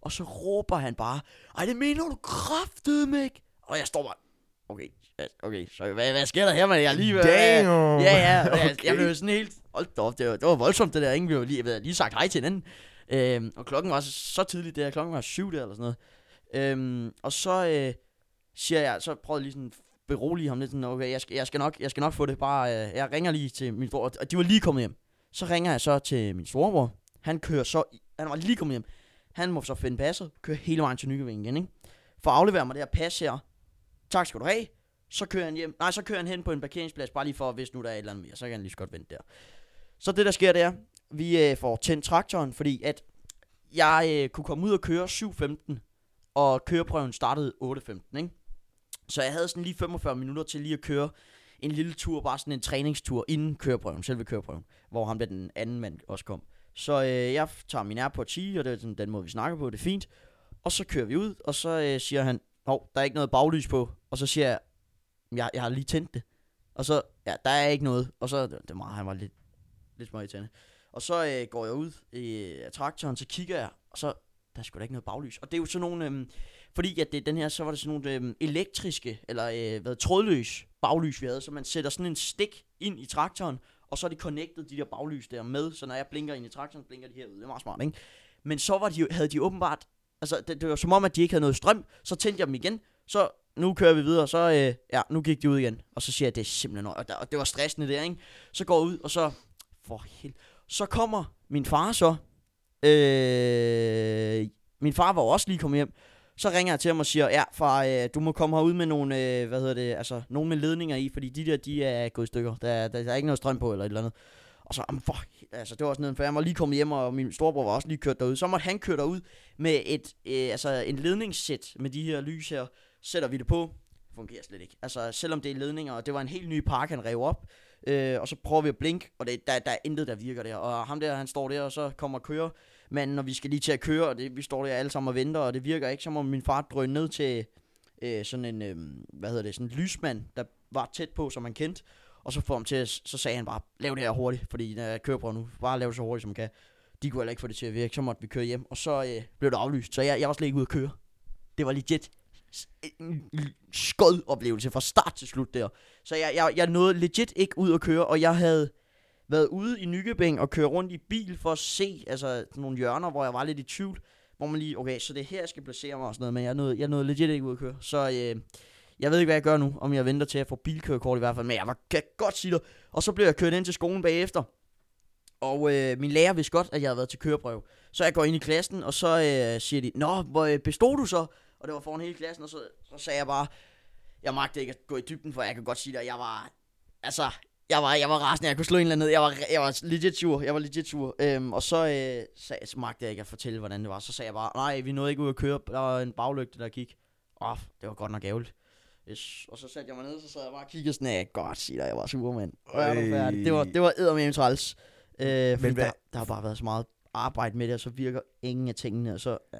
Og så råber han bare, ej, det mener du kraftedeme ikke? Og jeg står bare, okay, ja, okay, så hvad, hvad sker der her, man? Jeg er lige ved,
Damn.
Ja, ja, og jeg,
Okay.
jeg blev sådan helt, hold da op, det var, det var voldsomt det der, ingen blev lige, jeg havde lige sagt hej til hinanden. Øhm, og klokken var så, så tidligt der, klokken var syv der eller sådan noget. Øhm, og så øh, siger jeg, så prøvede jeg lige sådan at berolige ham lidt sådan, okay, jeg skal, jeg skal, nok, jeg skal nok få det, bare, øh, jeg ringer lige til min bror, og de var lige kommet hjem. Så ringer jeg så til min storebror, han kører så, i- han var lige kommet hjem, han må så finde passet, kører hele vejen til Nykøbing igen, ikke? For at aflevere mig det her pas her, tak skal du have, så kører han hjem. Nej, så kører han hen på en parkeringsplads, bare lige for, hvis nu der er et eller andet mere, så kan han lige så godt vente der. Så det, der sker, det er, vi øh, får tændt traktoren, fordi at jeg øh, kunne komme ud og køre 7.15, og køreprøven startede 8.15, ikke? Så jeg havde sådan lige 45 minutter til lige at køre en lille tur, bare sådan en træningstur inden køreprøven, selve køreprøven, hvor ham der den anden mand også kom. Så øh, jeg tager min Airpod 10, og det er sådan, den måde, vi snakker på, det er fint. Og så kører vi ud, og så øh, siger han, hov, der er ikke noget baglys på. Og så siger jeg, jeg, jeg har lige tændt det. Og så, ja, der er ikke noget. Og så, det var, han var lidt, lidt smøg i tænde. Og så øh, går jeg ud i øh, traktoren, så kigger jeg, og så, der er sgu da ikke noget baglys. Og det er jo sådan nogle, øhm, fordi at det, er den her, så var det sådan nogle øhm, elektriske, eller øh, hvad, trådløs baglys, vi havde. Så man sætter sådan en stik ind i traktoren, og så er det connected, de der baglys der med. Så når jeg blinker ind i traktoren, så blinker de herude. Det er meget smart, ikke? Men så var de, jo- havde de åbenbart, altså det, det var som om, at de ikke havde noget strøm. Så tændte jeg dem igen, så nu kører vi videre, så øh, ja, nu gik de ud igen. Og så siger jeg, det er simpelthen nøj, og, der, og det var stressende der, ikke? Så går jeg ud, og så, for hel... Så kommer min far så, øh, min far var jo også lige kommet hjem, så ringer jeg til ham og siger, ja far, øh, du må komme herud med nogle, øh, hvad hedder det, altså nogle med ledninger i, fordi de der, de er gået i stykker, der, der, der er ikke noget strøm på eller et eller andet. Og så, jamen for, hel- altså det var også neden, for jeg var lige kommet hjem, og min storebror var også lige kørt derud. Så måtte han køre derud med et, øh, altså en ledningssæt med de her lys her, sætter vi det på, fungerer slet ikke. Altså, selvom det er ledninger, og det var en helt ny park, han rev op, øh, og så prøver vi at blinke, og det, der, der er intet, der virker der. Og ham der, han står der, og så kommer kører, men når vi skal lige til at køre, og det, vi står der alle sammen og venter, og det virker ikke, så må min far drøne ned til øh, sådan en, øh, hvad hedder det, sådan en lysmand, der var tæt på, som man kendte, øh, og så får ham til, at- så sagde han bare, lav det her hurtigt, fordi når jeg kører på nu, bare lav det så hurtigt, som man kan. De kunne heller ikke få det til at virke, så måtte vi køre hjem. Og så øh, blev det aflyst, så jeg, jeg var slet ikke ude at køre. Det var legit s- en skød oplevelse fra start til slut der. Så jeg, jeg, jeg nåede legit ikke ud at køre, og jeg havde været ude i Nykøbing og køre rundt i bil for at se altså, nogle hjørner, hvor jeg var lidt i tvivl. Hvor man lige, okay, så det er her, jeg skal placere mig og sådan noget, men jeg nåede, jeg nåede legit ikke ud at køre. Så øh, jeg ved ikke, hvad jeg gør nu, om jeg venter til at få bilkørekort i hvert fald, men jeg var, kan godt sige det. Og så blev jeg kørt ind til skolen bagefter, og øh, min lærer vidste godt, at jeg havde været til køreprøve. Så jeg går ind i klassen, og så øh, siger de, Nå, hvor øh, bestod du så? Og det var foran hele klassen, og så, så sagde jeg bare, jeg magtede ikke at gå i dybden, for jeg kan godt sige dig, jeg var, altså, jeg var, jeg var rasende, jeg kunne slå en eller anden ned, jeg var, jeg var legit sur, jeg var legit sur. Øhm, og så, øh, sag, så magtede jeg ikke at fortælle, hvordan det var, så sagde jeg bare, nej, vi nåede ikke ud at køre, der var en baglygte, der gik. Åh, oh, det var godt nok ærgerligt. Yes. Og så satte jeg mig ned, så sad jeg bare og kiggede sådan, af, jeg kan godt sige dig, jeg var sur, mand. Hvor er du
Øj.
færdig? Det var, det var eddermame træls. Øh, Men
hvad-
der, der har bare været så meget arbejde med det, og så virker ingen af tingene, og så... Ja.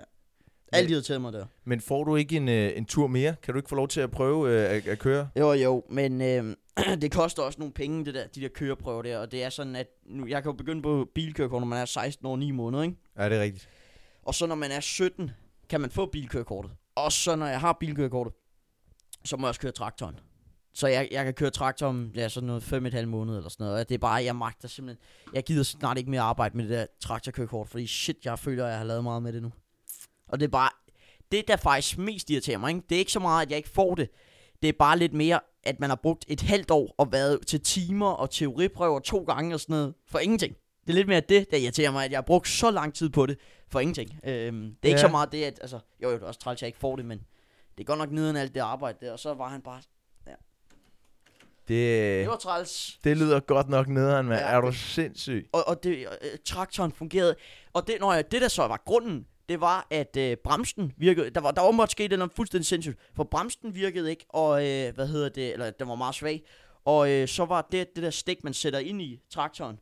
Alt irriterede mig der.
Men får du ikke en, øh, en tur mere? Kan du ikke få lov til at prøve øh, at, at køre?
Jo, jo, men øh, (clears throat) det koster også nogle penge, det der, de der køreprøver der, og det er sådan, at nu, jeg kan jo begynde på bilkørekort, når man er 16 år og 9 måneder, ikke?
Ja, det er rigtigt.
Og så når man er 17, kan man få bilkørekortet. Og så når jeg har bilkørekortet, så må jeg også køre traktoren. Så jeg, jeg kan køre traktor om ja, sådan noget fem et halvt måned eller sådan noget. Og det er bare, jeg magter simpelthen. Jeg gider snart ikke mere arbejde med det der traktorkørekort, fordi shit, jeg føler, at jeg har lavet meget med det nu. Og det er bare, det der faktisk mest irriterer mig, ikke? det er ikke så meget, at jeg ikke får det. Det er bare lidt mere, at man har brugt et halvt år og været til timer og teoriprøver to gange og sådan noget, for ingenting. Det er lidt mere det, der irriterer mig, at jeg har brugt så lang tid på det, for ingenting. Øhm, det er ikke
Ja.
så meget det, at, altså, jo jo, det er også træls, at jeg ikke får det, men det er godt nok nederen alt det arbejde der, og så var han bare,
Det, øh,
det var træls.
det lyder godt nok nederen, mand.
Ja.
Er du sindssyg?
Og, og det, og, øh, traktoren fungerede. Og det, når jeg, det der så var grunden, det var, at øh, bremsen virkede. Der var, der var måtte ske noget fuldstændig sindssygt. For bremsen virkede ikke, og øh, hvad hedder det, eller den var meget svag. Og øh, så var det, det der stik, man sætter ind i traktoren,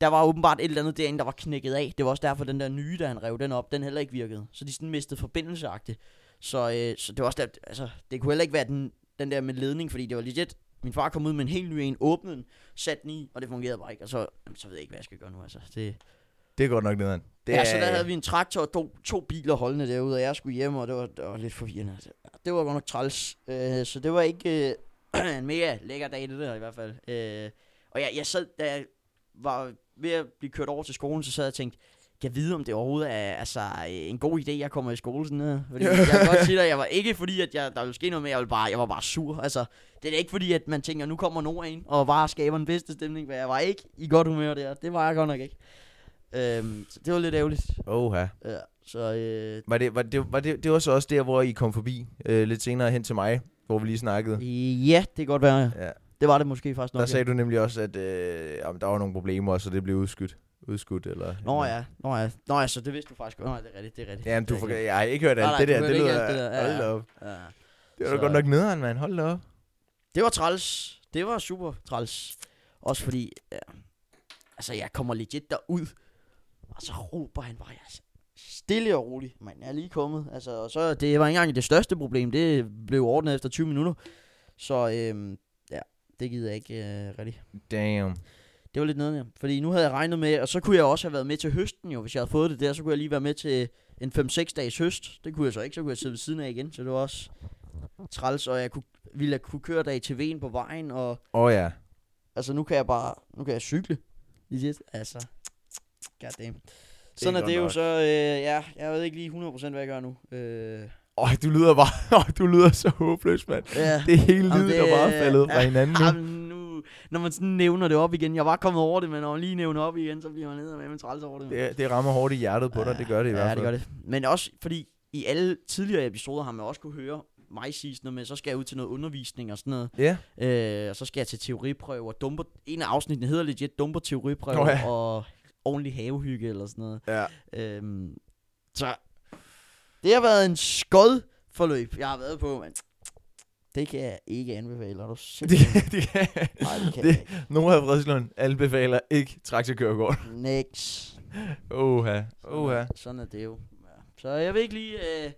der var åbenbart et eller andet derinde, der var knækket af. Det var også derfor, den der nye, der han rev den op, den heller ikke virkede. Så de sådan mistede forbindelseagtigt. Så, øh, så det var også der, altså, det kunne heller ikke være den, den der med ledning, fordi det var legit. Min far kom ud med en helt ny en, åbnede den, satte den i, og det fungerede bare ikke. Og så, jamen, så ved jeg ikke, hvad jeg skal gøre nu, altså. Det,
Det er godt nok nederen. Det
det ja,
er,
så der havde vi en traktor og to, to biler holdende derude, og jeg skulle hjem, og det var, det var lidt forvirrende. altså. Det var godt nok træls. Øh, så det var ikke øh, (clears throat) en mega lækker dag, det der i hvert fald. Øh, og jeg, jeg sad, da jeg var ved at blive kørt over til skolen, så sad jeg og tænkte, jeg vide, om det overhovedet er altså, øh, en god idé, jeg kommer i skole sådan noget. Fordi jeg kan godt sige dig, jeg var ikke fordi, at jeg, der ville ske noget med, jeg, ville bare, jeg var bare sur. Altså, det er da ikke fordi, at man tænker, nu kommer nogen og bare skaber den bedste stemning, men jeg var ikke i godt humør der. Det var jeg godt nok ikke. Øhm, så det var lidt ærgerligt.
Oha.
Ja, så øh,
Var det, var det, var det, det var så også der, hvor I kom forbi øh, lidt senere hen til mig, hvor vi lige snakkede.
ja, det kan godt være. Ja.
Ja.
Det var det måske faktisk nok.
Der
ja.
sagde du nemlig også, at øh, jamen, der var nogle problemer, så det blev udskudt. Udskudt, eller...
Nå ja, nå ja, nå ja, så det vidste du faktisk godt. Nå, ja, det er rigtigt, det er rigtigt.
Ja, men
Det er
du for,
rigtigt.
jeg har ikke hørt
Nej,
alt
nej,
det
du
der.
hørte
Det
ikke
lyder...
alt det der. Ja,
Hold da
ja.
op.
Ja.
Det var da
Så-
godt nok nederen, mand. Hold da op.
Det var træls. Det var super træls. Også fordi, ja, altså jeg kommer legit derud, og så råber han bare, altså, stille og roligt, man jeg er lige kommet. Altså, og så, det var ikke engang det største problem, det blev ordnet efter 20 minutter. Så øhm, ja, det gider jeg ikke øh, rigtig.
Damn.
Det var lidt nederen, ja. Fordi nu havde jeg regnet med, og så kunne jeg også have været med til høsten jo, hvis jeg havde fået det der, så kunne jeg lige være med til en 5-6 dages høst. Det kunne jeg så ikke, så kunne jeg sidde ved siden af igen, så det var også træls, og jeg kunne, ville jeg kunne køre der i TV'en på vejen, og
Åh oh, ja.
altså nu kan jeg bare, nu kan jeg cykle. Legit, altså. Goddamn. Sådan er
godt
det jo
nok.
så, øh, ja, jeg ved ikke lige 100% hvad jeg gør nu. Øh,
Åh, oh, du lyder bare... (laughs) Oh, du lyder så håbløs, mand.
(laughs) ja.
Det er hele
Jamen,
livet,
det-
der bare er faldet fra hinanden nu.
Jamen, nu, når man sådan nævner det op igen, jeg var kommet over det, men når man lige nævner op igen, så bliver man ned med en træls over det.
Det, det rammer hårdt i hjertet på dig, det gør det i
ja,
hvert fald.
det gør det. Men også fordi i alle tidligere episoder har man også kunne høre mig sige sådan noget med, så skal jeg ud til noget undervisning og sådan noget.
Ja,
Øh, og så skal jeg til teoriprøver. Dumper, en af afsnittene hedder legit dumper teoriprøver
Nå
oh,
ja.
ja. og ordentlig havehygge eller sådan noget.
ja.
Øhm, så det har været en skod forløb, jeg har været på, men det kan jeg ikke anbefale. Er
(laughs) (laughs)
du
Det,
simpelthen...
det kan.
Nej, det
det- (laughs)
kan det. jeg ikke.
Nora Fredslund anbefaler ikke traktorkørekort.
Next.
Oha,
Sådan,
oha.
er, sådan er det jo. Ja. Så jeg ved ikke lige, uh,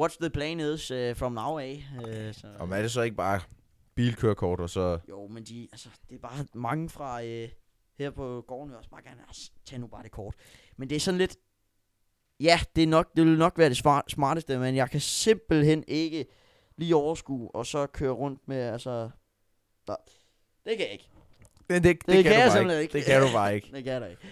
what's the plan is uh, from now af. Uh, så.
Og er det så ikke bare bilkørekort, og så...
Jo, men de, altså, det er bare mange fra uh, her på gården vil jeg også bare gerne, "Ah, s- tag nu bare det kort. Men det er sådan lidt, ja, det, er nok, det vil nok være det svar- smarteste, men jeg kan simpelthen ikke lige overskue, og så køre rundt med, altså, der. det kan jeg ikke.
Det, det, det,
Det, det
kan,
kan, kan jeg
du bare
simpelthen
ikke.
ikke.
Det kan du bare ikke.
(laughs) det kan jeg da ikke.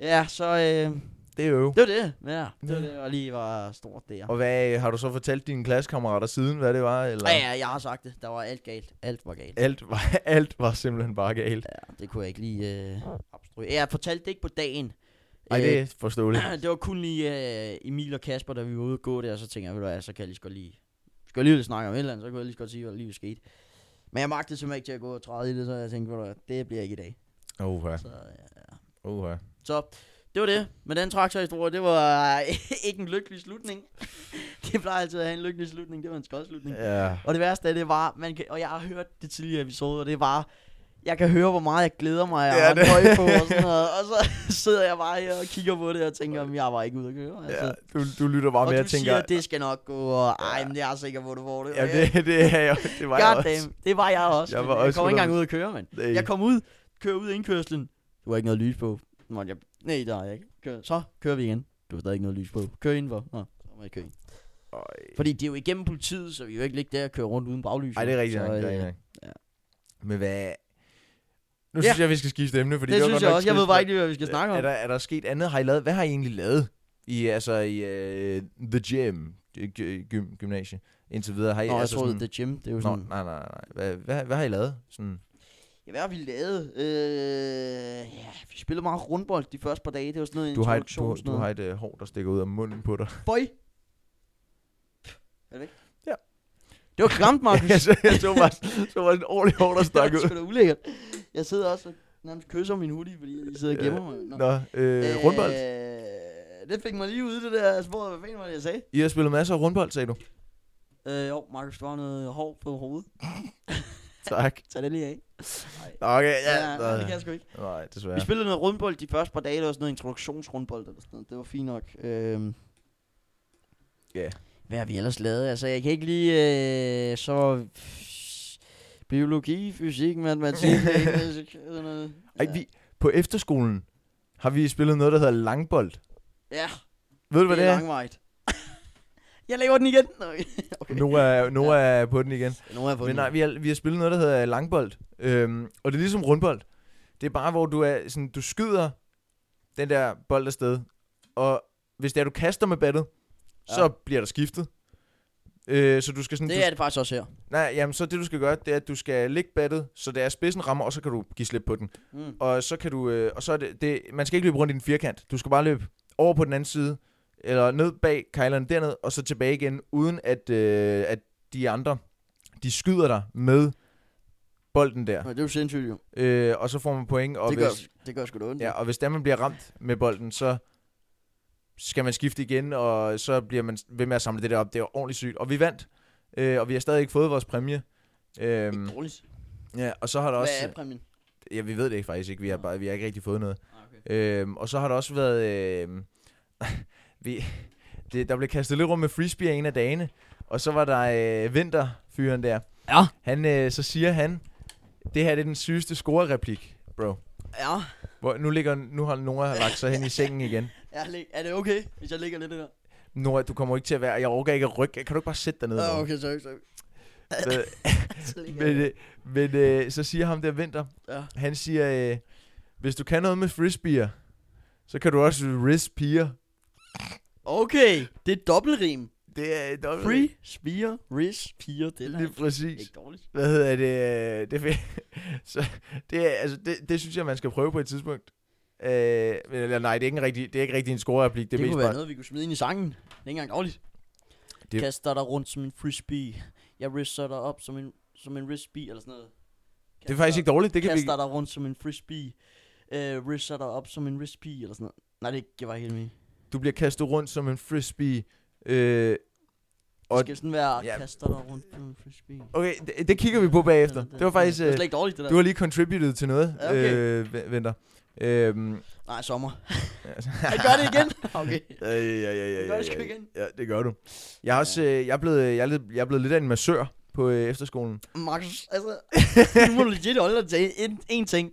Ja, så øh,
Det er jo.
det var det. Ja, det var
Ja.
det, der lige var stort der.
Og hvad har du så fortalt dine klassekammerater siden, hvad det var? Eller?
Ja, ja, jeg har sagt det. Der var alt galt. Alt var galt.
Alt, var, (laughs) alt var simpelthen bare galt.
Ja, det kunne jeg ikke lige øh, obstruere. Jeg fortalte det ikke på dagen.
Ej,
Øh,
det er
(clears throat)
forståeligt.
det var kun lige øh, Emil og Kasper, der vi var ude at gå der, og så tænkte jeg, ved du hvad, så kan jeg lige så godt lige, skal jeg lige lidt snakke om et eller andet, så kunne jeg lige så godt sige, hvad der lige skete. Men jeg magtede simpelthen ikke til at gå og træde i det, så jeg tænkte, ved du hvad, det bliver ikke i dag.
Åh, ja.
Så, ja.
Åh, ja.
så det var det med den traktorhistorie. Det var (laughs) ikke en lykkelig slutning. (laughs) det plejer altid at have en lykkelig slutning. Det var en skodslutning.
Ja.
Og det værste af det var, man kan, og jeg har hørt det tidligere episode, og det var, jeg kan høre, hvor meget jeg glæder mig, og
Ja,
jeg
det-
har tøj på og sådan noget. Og så (laughs) sidder jeg bare her og kigger på det og tænker, om jeg var ikke ude at køre. Altså.
ja. Du, du lytter bare
og
med
du
og tænker...
siger, det skal nok gå, og ej, men det er jeg sikker på, du får det.
ja, det, (laughs) det, er jeg, det var jeg
God
også.
damn, det var jeg også.
Jeg
Jeg,
var
var
også
jeg kom ikke engang ud at køre, mand.
Nej.
Jeg kom ud, kører ud af indkørslen. Du har ikke noget lys på. Så Måtte jeg, nej, der har jeg ikke. Kør. Så kører vi igen. Du har stadig ikke noget lys på. Kør indenfor. Nå, så må jeg køre ind.
Øj.
Fordi det er jo igennem politiet, så vi kan jo ikke ligge der og køre rundt uden baglys.
Ej, det er rigtigt
Så,
nok. Det er
øh,
rigtigt nok.
ja.
Men hvad... Nu
Ja.
synes jeg, vi skal skifte emne, fordi
det,
det var
synes
godt
jeg
nok
også. Jeg ved
trist,
bare ikke lige, hvad vi skal snakke om.
Er der, er der sket andet? Har I lavet, hvad har I egentlig lavet i, altså, i uh, The Gym, gy- gym gymnasie, indtil videre? Har I,
Nå, jeg
altså,
troede,
sådan,
det er gym. Det er jo
Nå,
sådan...
nej, nej, nej. Hvad, hvad, hvad har I lavet? Sådan,
Ja, hvad har vi lavet? Øh, ja, vi spillede meget rundbold de første par dage. Det var sådan noget
du, har et,
introduktion.
du,
sådan
du
noget.
har et uh, hår, der stikker ud af munden på dig.
(laughs) Bøj! Er det ikke?
Ja.
Det var klamt,
(laughs)
Markus.
jeg, så, jeg så bare, så bare sådan en ordentlig hår, der stak
(laughs) Det var
ud.
sgu da ulækkert. Jeg sidder også og nærmest kysser min hoodie, fordi jeg sidder og gemmer mig. Nå.
Nå, øh, rundbold.
Øh, det fik mig lige ude, det der spor. Hvad fanden var det, jeg sagde?
I har spillet masser af rundbold, sagde du.
Øh, jo, Markus, du har noget hår på hovedet.
Tak.
Tag det lige af.
Nå, Okay, ja.
ja, nej, det kan jeg sgu ikke.
Nej, desværre.
Vi spillede noget rundbold de første par dage, det var sådan noget introduktionsrundbold eller sådan noget. Det var fint nok. Øhm.
Ja.
Hvad har vi ellers lavet? Altså, jeg kan ikke lige øh, så... Biologi, fysik, matematik,
(laughs)
engelsk, sådan noget.
Ej,
Ja.
vi, på efterskolen har vi spillet noget, der hedder langbold.
Ja,
Ved du, hvad
det
det
er
er?
langvejt. (laughs) jeg laver den igen. Nå, Okay. okay.
Nu er, nu er på den igen.
Nu har jeg fået
Men
den.
nej, vi har, vi har spillet noget, der hedder langbold. Øhm, og det er ligesom rundbold. Det er bare, hvor du, er, sådan, du skyder den der bold afsted. Og hvis det er, du kaster med battet, så
Ja.
bliver der skiftet. Øh, så du skal sådan, du
Det er det faktisk også her.
Nej, jamen så det du skal gøre, det er, at du skal ligge battet, så det er spidsen rammer, og så kan du give slip på den.
Mm.
Og så kan du, øh, og så er det, det, man skal ikke løbe rundt i den firkant. Du skal bare løbe over på den anden side, eller ned bag kejlerne derned, og så tilbage igen, uden at, øh, at de andre, de skyder dig med bolden der.
Men det er jo sindssygt, jo.
Øh, og så får man point, og
Det
hvis,
gør, det gør sgu da ondt.
Ja, og hvis der man bliver ramt med bolden, så skal man skifte igen, og så bliver man ved med at samle det der op. Det er ordentligt sygt. Og vi vandt, øh, og vi har stadig ikke fået vores præmie. Øhm,
Ikke dårligt.
ja, og så har der
Hvad
også...
er præmien?
Ja, vi ved det ikke faktisk ikke. Vi har, bare, vi har ikke rigtig fået noget.
Ah, okay.
Øhm, og så har der også været... Øhm, (laughs) vi, det, der blev kastet lidt rundt med frisbee af en af dagene. Og så var der øh, vinterfyren der.
Ja.
Han, øh, så siger han, det her det er den sygeste scorereplik, bro.
Ja.
Hvor, nu, ligger, nu har Nora lagt sig hen i sengen igen.
Jeg lig- er det okay, hvis jeg ligger lidt der?
Nora, du kommer ikke til at være... Jeg orker ikke at rykke. Kan du ikke bare sætte dig ned?
Ah,
Nora?
okay, sorry, sorry.
Så,
Så ligger jeg
men øh, men øh, så siger ham der Vinter,
Ja.
han siger, øh, hvis du kan noget med frisbeer, så kan du også rispier.
Okay, det er dobbeltrim.
Det er et dobbelt-
Free, spire, ris, piger. Det er da
Lige præcis.
ikke dårligt.
Hvad hedder det? øh, Det, er fe- (laughs) så, det, er, altså, det, det synes jeg, man skal prøve på et tidspunkt. Øh, eller nej, det er ikke en rigtig, det er ikke rigtig en scorereplik.
Det,
Det, er
det
mest
kunne være
bare,
noget, vi kunne smide ind i sangen. Det er ikke engang dårligt.
Det-
Det... Kaster dig rundt som en frisbee. Jeg rister dig op som en, som en frisbee, eller sådan noget. altså,
det er faktisk ikke dårligt. Det kan vi,
Kaster dig rundt som en frisbee. Øh, rister dig op som en frisbee, eller sådan noget. Nej, det giver bare helt mening.
du bliver kastet rundt som en frisbee. Øh, Og-
Det skal sådan være,
ja.
ja. kaster dig rundt som en frisbee.
okay, det, det kigger vi på bagefter. Det var faktisk...
Det var
Øh,
slet ikke dårligt, det der.
Du har lige contributed til noget,
Ja, okay.
øh, Ven- Vinter. Øhm,
Nej, sommer.
altså.
(laughs) Jeg gør det
(laughs)
igen. Okay.
Ja, ja, ja, ja,
Det
ja,
gør jeg sgu
ja, ja.
igen.
ja, det gør du. Jeg er også, øh, jeg er blevet, jeg er, lidt- jeg er blevet lidt af en massør på øh, efterskolen. (laughs)
Markus, altså, du må legit holde dig til en, en ting.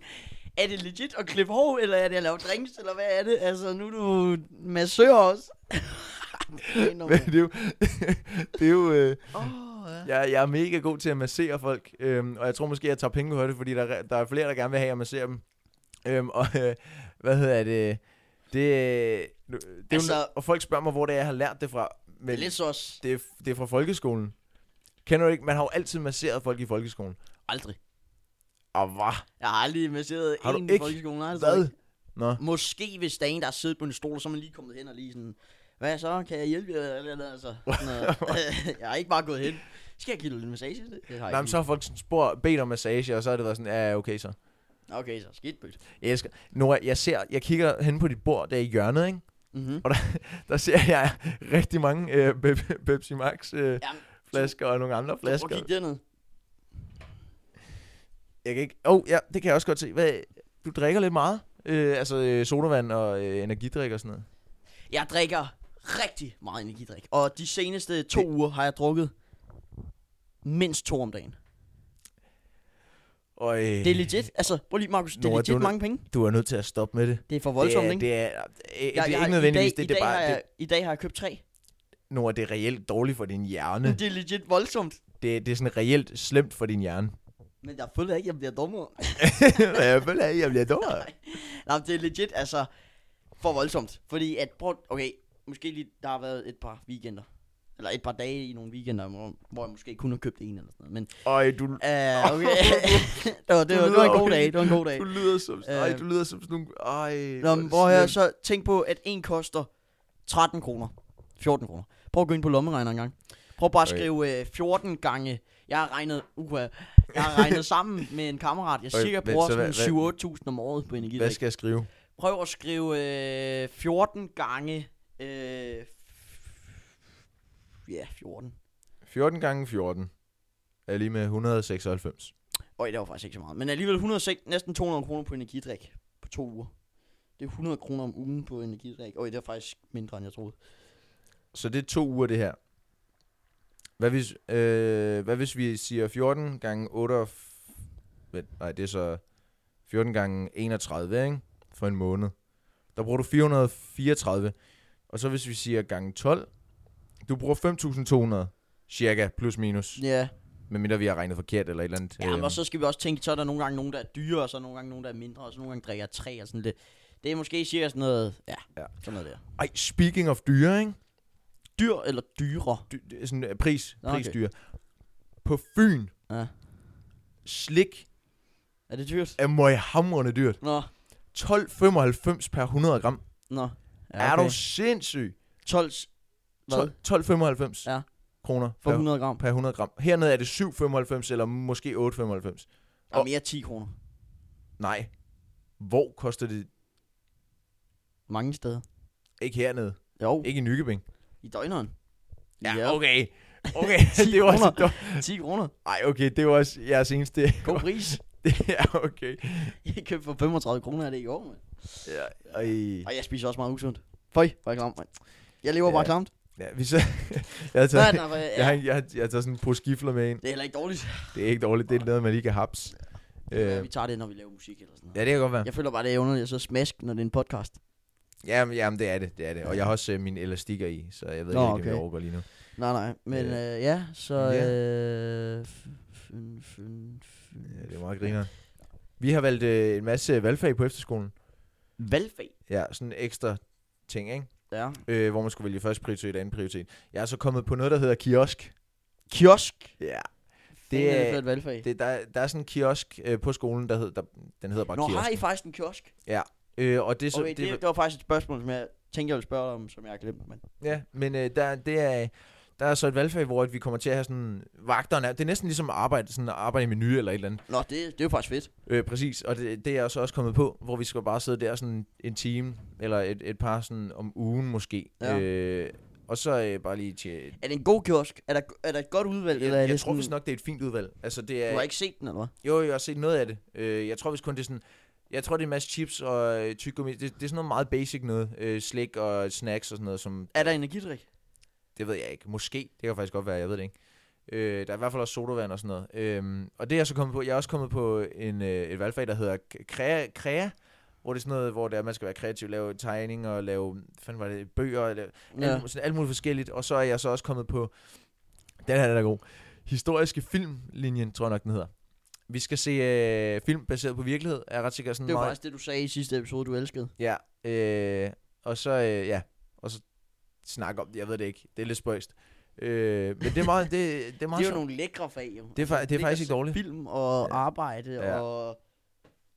er det legit at klippe hår, eller er det at lave drinks, eller hvad er det? Altså, nu er du massør
(laughs)
også. Åh,
Men det er jo... (laughs) det er jo øh,
oh, ja.
jeg, jeg er mega god til at massere folk, øhm, og jeg tror måske, jeg tager penge på det, fordi der, er- der er flere, der gerne vil have, at jeg masserer dem. Øhm, og øh, hvad hedder det? Det, det, det altså,
Altså-
jo, og folk spørger mig, hvor det er, jeg har lært det fra. Men
Det er lidt sås.
det, er, det er fra folkeskolen. Kender du ikke? Man har jo altid masseret folk i folkeskolen.
Aldrig.
Og hvad?
Jeg har aldrig investeret
Har du
en i
ikke?
folkeskolen. Nej, det tror jeg
Hvad?
ikke.
Nå.
Måske hvis der er en, der har siddet på en stol, så er man lige kommet hen og lige sådan, hvad så, kan jeg hjælpe jer? Eller, eller, eller,
(laughs)
altså, sådan noget. (laughs) jeg har ikke bare gået hen. Skal jeg give dig lidt massage? Det har jeg
Nej, men
ikke.
så har folk sådan spurgt, bedt om massage, og så har det været sådan, ja, ja, okay så.
Okay, så skidtbødt.
Jeg elsker. Nora, jeg ser, jeg kigger hen på dit bord der i hjørnet, ikke?
Mm-hmm.
Der ser jeg (laughs) rigtig mange øh, Pe- Pepsi Max øh,
Jamen,
flasker og nogle andre
Prøv
flasker.
at kigge derned.
Jeg kan ikke... Åh, oh, ja, det kan jeg også godt se. Hvad, du drikker lidt meget? Øh, altså øh, sodavand og øh, energidrik og sådan noget.
Jeg drikker rigtig meget energidrik. Og de seneste to
Det-
uger har jeg drukket mindst to om dagen.
Og, øh,
Det er legit. Altså, prøv lige, Markus. Det er
Nora,
legit
du-
mange penge.
Du er nødt til at stoppe med det.
Det er for voldsomt,
det er,
ikke?
Det er, øh, det er
jeg,
ikke
har-
nødvendigvis
i dag,
det.
i
det er
dag
bare,
har
det,
jeg, I dag har jeg købt tre.
Nora, det er reelt dårligt for din hjerne.
Det er legit voldsomt.
det, det er sådan reelt slemt for din (laughs) hjerne.
Men jeg føler ikke, jeg bliver dummere.
jeg føler, at jeg bliver dummere.
Nej, men det er legit, altså, for voldsomt. Fordi at, prøv, okay, måske lige, der har været et par weekender. Eller et par dage i nogle weekender, hvor, hvor jeg måske kun har købt en eller sådan noget. Men,
Øj, du,
uh,
(laughs)
okay. (laughs) det, var, det, var, det var en god dag, det var en god dag.
du lyder som, øj,
Øh.
du lyder som sådan nogle... Øj,
Nå,
er
men
det
prøv at høre,
slemt.
så tænk på, at en koster 13 kroner. 14 kroner. Prøv at gå ind på lommeregner en gang. Prøv bare at
Okay.
skrive øh, 14 gange. Jeg har regnet, uha, jeg har
(laughs)
regnet sammen med en kammerat. Jeg
Okay,
cirka
men
bruger
så hvad-
sådan 7-8.000 om året på energi.
Hvad skal jeg skrive?
Prøv at skrive øh, 14 gange... Øh, f- ja, 14.
14 gange 14 er lige med 196.
Øj, det var faktisk ikke så meget. Men alligevel 106, næsten 200 kroner på energidrik på to uger. Det er 100 kroner om ugen på energidrik. Øj, det er faktisk mindre, end jeg troede.
Så det er to uger, det her. Hvad hvis, øh, hvad hvis vi siger 14 gange 8... og f- Vent, nej, det er så 14 gange 31, ikke? For en måned. Der bruger du 434. Og så hvis vi siger gange 12, du bruger 5.200 cirka, plus minus.
Ja. Yeah.
Medmindre vi har regnet forkert eller et eller andet.
Ja,
øhm,
men så skal vi også tænke, så er der nogle gange nogen, der er dyre, og så er nogle gange nogen, der er mindre, og så nogle gange drikker jeg tre og sådan lidt. Det er måske cirka sådan noget, ja,
Ja.
ja. sådan noget der.
Ej, speaking of dyre, ikke?
Dyr eller dyre?
Dy, det er sådan, øh, pris,
Nå,
okay.
okay.
prisdyr. På Fyn,
Ja.
slik
Er det dyrt?
er møghamrende dyrt.
Nå,
12,95 per 100 gram.
nå.
Ja, okay. Er du sindssyg?
12, hvad?
12 12,95
Ja.
kroner
For
per,
100 gram.
per 100 gram. Hernede er det 7,95 eller måske 8,95.
Der er mere 10 kroner.
Nej. Hvor koster det?
Mange steder.
Ikke hernede.
Jo,
Ikke i Nykøbing.
i døgneren.
okay.
(laughs)
Okay, (laughs)
10
det var også...
kroner.
dum-
10 kroner.
Ej, okay, det var også jeres eneste... (laughs)
God pris.
ja, okay.
Jeg købte for 35 kroner af det i år, mand.
Ja, ej.
Og jeg spiser også meget usundt. Føj, hvor er jeg klam, mand. Jeg lever bare
Ja.
klamt.
Ja, vi så... (laughs) jeg har
Nå,
taget,
nej, hvor-
(laughs) jeg, har,
ja.
jeg, har, jeg har taget sådan en pose gifler med ind.
Det er heller ikke dårligt.
Det er ikke dårligt, det er noget, man lige kan haps. Øh,
Ja, vi tager det, når vi laver musik eller sådan noget.
ja, det kan godt være.
Jeg føler bare, det er underligt at så smask, når det er en podcast.
Jamen, jamen, det er det, det er det. Og jeg har også øh, mine elastikker i, så jeg ved
Nå,
ikke, okay. om jeg
okay.
overgår lige nu.
Nej, nej. Men øh, ja, så...
Ja.
Øh, f- fyn, fyn, fyn.
Ja, det er meget griner. Vi har valgt øh, en masse valgfag på efterskolen.
Valgfag.
Ja, sådan ekstra ting, ikke?
Ja.
Øh, hvor man skulle vælge første prioritet og anden prioritet. Jeg er så kommet på noget, der hedder kiosk.
Kiosk.
Ja.
Det er det for
er-
et valgfag. Det
Det, der, der er sådan en kiosk øh, på skolen, der hedder, der, den hedder bare
Nå,
kiosk.
har I faktisk en kiosk?
Øh, og det er så,
Okay, det, det, var faktisk et spørgsmål, som jeg tænkte, jeg ville spørge dig om, som jeg har glemt. Men.
Ja, men øh, der, det er, der er så et valgfag, hvor at vi kommer til at have sådan vagterne. Det er næsten ligesom at arbejde, sådan at arbejde i menu eller et eller andet.
Nå, det, det er jo faktisk fedt.
Øh, præcis, og det, det er jeg så også kommet på, hvor vi skal bare sidde der sådan en time, eller et, et par sådan om ugen måske.
Ja.
Øh, og så øh, bare lige til...
Er det en god kiosk? Er der, er der et godt udvalg? eller er
Jeg, jeg
det
tror vist
sådan,
nok, det er et fint udvalg. Altså, det er,
Du har ikke set den, eller hvad?
Jo, jeg har set noget af det. Øh, jeg tror vist kun, det er sådan... Jeg tror, det er en masse chips og øh, tyggegummi. Det, det er sådan noget meget basic noget. Øh, slik og snacks og sådan noget, som...
Er der energidrik?
Det ved jeg ikke. Måske. Det kan faktisk godt være, jeg ved det ikke. Øh, der er i hvert fald også sodavand og sådan noget. Øhm, og det er jeg så kommet på. Jeg er også kommet på en, øh, et valgfag, der hedder k- Krea, Krea hvor det er sådan noget, hvor det er, man skal være kreativ, lave tegning og lave hvad fanden var det, bøger, lave, ja.
Ja.
alt, sådan alt muligt forskelligt. Og så er jeg så også kommet på, den her den er god, historiske filmlinjen, tror jeg nok, den hedder. Vi skal se øh, film baseret på virkelighed, er jeg ret sikker. Sådan
Det var
meget,
faktisk det, du sagde i sidste episode, du elskede.
Ja, øh, og så, øh, ja, og så snakke om det, jeg ved det ikke, det er lidt spøjst. Øh, men det er meget, det, det er
Det (laughs)
meget
er jo
sjovt.
nogle lækre fag, jo.
Det er fa- det er
Lækker
faktisk ikke
at se
dårligt.
Film og arbejde
Ja.
og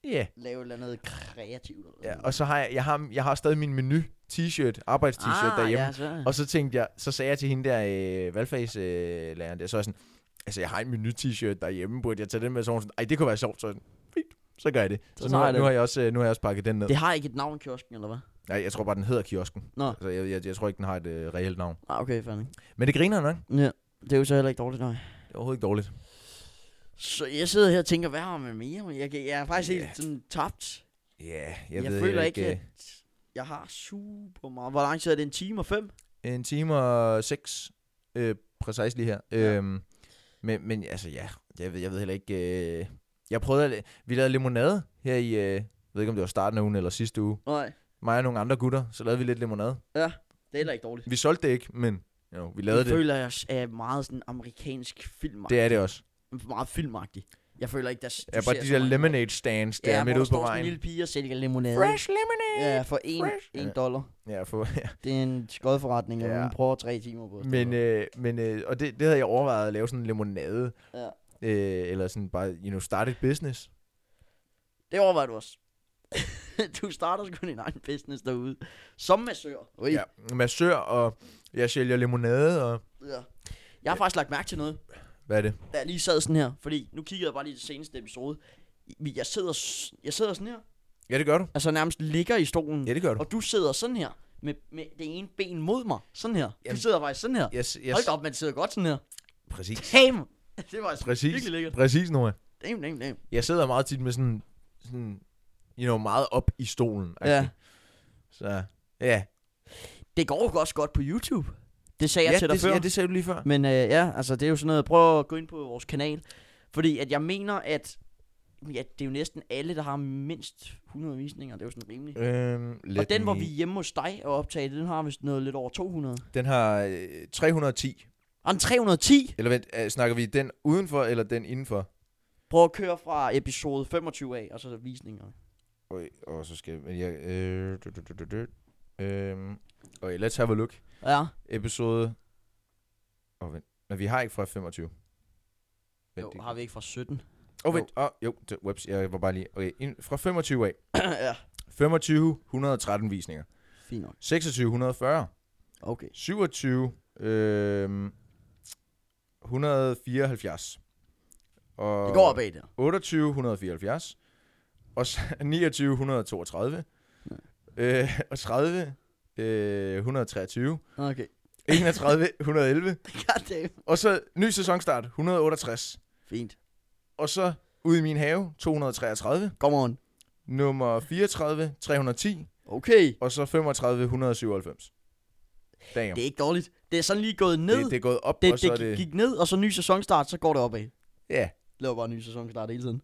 Ja,
lave et eller andet kreativt. eller
ja,
noget.
og så har jeg, jeg har, jeg har stadig min menu, t-shirt, arbejdst-t-shirt
ah,
derhjemme.
Ja, så.
Og så tænkte jeg, så sagde jeg til hende der, øh, valgfagslæreren øh, læreren der, så er jeg sådan, altså jeg har en menu t-shirt derhjemme, burde jeg tage den med? Så var hun sådan, ej det kunne være sjovt, så er jeg sådan, fint, så gør jeg det. Så,
Så
nu,
tager
har,
jeg
nu,
den.
har jeg også, øh, nu har jeg også pakket den ned.
Det har ikke et navn, kiosken, eller hvad?
Nej, jeg tror bare, den hedder kiosken.
Nå.
Altså, jeg, jeg, jeg, tror ikke, den har et øh, reelt navn.
Ah, okay, fandme.
Men det griner nok.
Ja, det er jo så heller ikke dårligt, nej.
Det er overhovedet ikke dårligt.
Så jeg sidder her og tænker, hvad har man mere? Men Jeg, kan- jeg er faktisk
Ja.
helt sådan tabt.
Ja, yeah,
Jeg,
jeg, ved
føler ikke,
øh,
at jeg har super meget. Hvor lang tid er det? En time og fem?
En time og seks, øh, præcis lige her.
Ja.
Ja. Øhm, men, men altså, ja, jeg ved, jeg ved heller ikke... Øh, jeg prøvede at... la- Vi lavede limonade her i... Øh, jeg ved ikke, om det var starten af ugen eller sidste uge.
Nej,
Mig og nogle andre gutter, så lavede vi lidt limonade.
det er heller ikke dårligt.
Vi solgte det ikke, men jo, vi lavede
Jeg
det.
føler, jeg er meget sådan amerikansk film.
Det er det også.
Meget filmagtig. Jeg føler ikke, der s- du
Ja, bare
ser
de
så
der
mange-
lemonade stands, der
ja,
er midt
hvor
ude på
står sådan en
vejen.
lille pige og sælger limonade.
Fresh lemonade!
Ja, for en,
Fresh.
en
Ja.
dollar.
Ja, for, ja.
Det er en skodforretning, og
Ja.
hun bruger tre timer på.
Men, øh, men øh, og det, det havde jeg overvejet at lave sådan en limonade.
Ja.
Øh, eller sådan bare, you know, start et business.
Det overvejer du også. (laughs) du starter sgu din egen business derude. Som massør. Ui.
Ja, massør, og jeg sælger limonade, og
Ja. Jeg har faktisk lagt mærke til noget,
hvad er det?
da jeg lige sad sådan her. Fordi nu kiggede jeg bare lige i det seneste episode. Vi- Jeg sidder, s- jeg sidder sådan her.
Ja, det gør du.
Altså nærmest ligger i stolen.
Ja, det gør du.
Og du sidder sådan her. Med, med det ene ben mod mig. Sådan her. Du
Jamen.
sidder faktisk sådan her.
Jeg, s- jeg,
Hold da
s-
op, man sidder godt sådan her.
præcis.
Damn! (laughs) Det var altså
Præcis.
virkelig lækkert.
Præcis, Nora.
Damn, damn, damn.
Jeg sidder meget tit med sådan, sådan you know, meget op i stolen. altså.
Ja.
Så, ja.
Det går jo også godt på YouTube. Det sagde jeg
ja,
til dig
det,
før.
ja, det sagde du lige før.
Men øh, ja, altså det er jo sådan noget, prøv at gå ind på vores kanal, fordi at jeg mener, at ja, det er jo næsten alle, der har mindst 100 visninger, det er jo sådan rimeligt.
Øhm, let
og den, hvor
me-
vi er hjemme hos dig og optaget, den har vist noget lidt over 200.
Den har øh, 310.
Og den 310,
Eller vent, øh, snakker vi den udenfor, eller den indenfor?
prøv at køre fra episode 25 af, og så visninger.
Øj, og så skal jeg... jeg øh, du, du, du, du, du. Øhm, okay, let's have a look.
Ja,
Episode... Åh, vent. Men vi har ikke fra 25. Vent,
jo,
det-
har vi ikke fra 17.
Åh, oh, vent. Åh, oh, jo. Det, whoops, jeg var bare lige... Okay, ind, fra 25 af.
(clears throat) ja,
25, 113 visninger.
fint nok.
26, 140.
Okay.
27, øh, 174. Og
Det går opad der.
28, 174. Og (laughs) så 29, 132.
Ja.
Øh, og 30, øh, 123.
Okay.
31, 111.
Goddamn.
Og så ny sæsonstart, 168.
Fint.
Og så ude i min have, 233.
Come on.
Nummer 34, 310.
Okay.
Og så 35, 197. Damn.
Det
Det,
er ikke dårligt. Det er sådan lige gået ned.
det, det er gået op,
det,
og
det,
så er
det,
det...
det gik ned, og så ny sæsonstart, så går det opad.
Ja.
laver bare en ny sæsonstart hele tiden.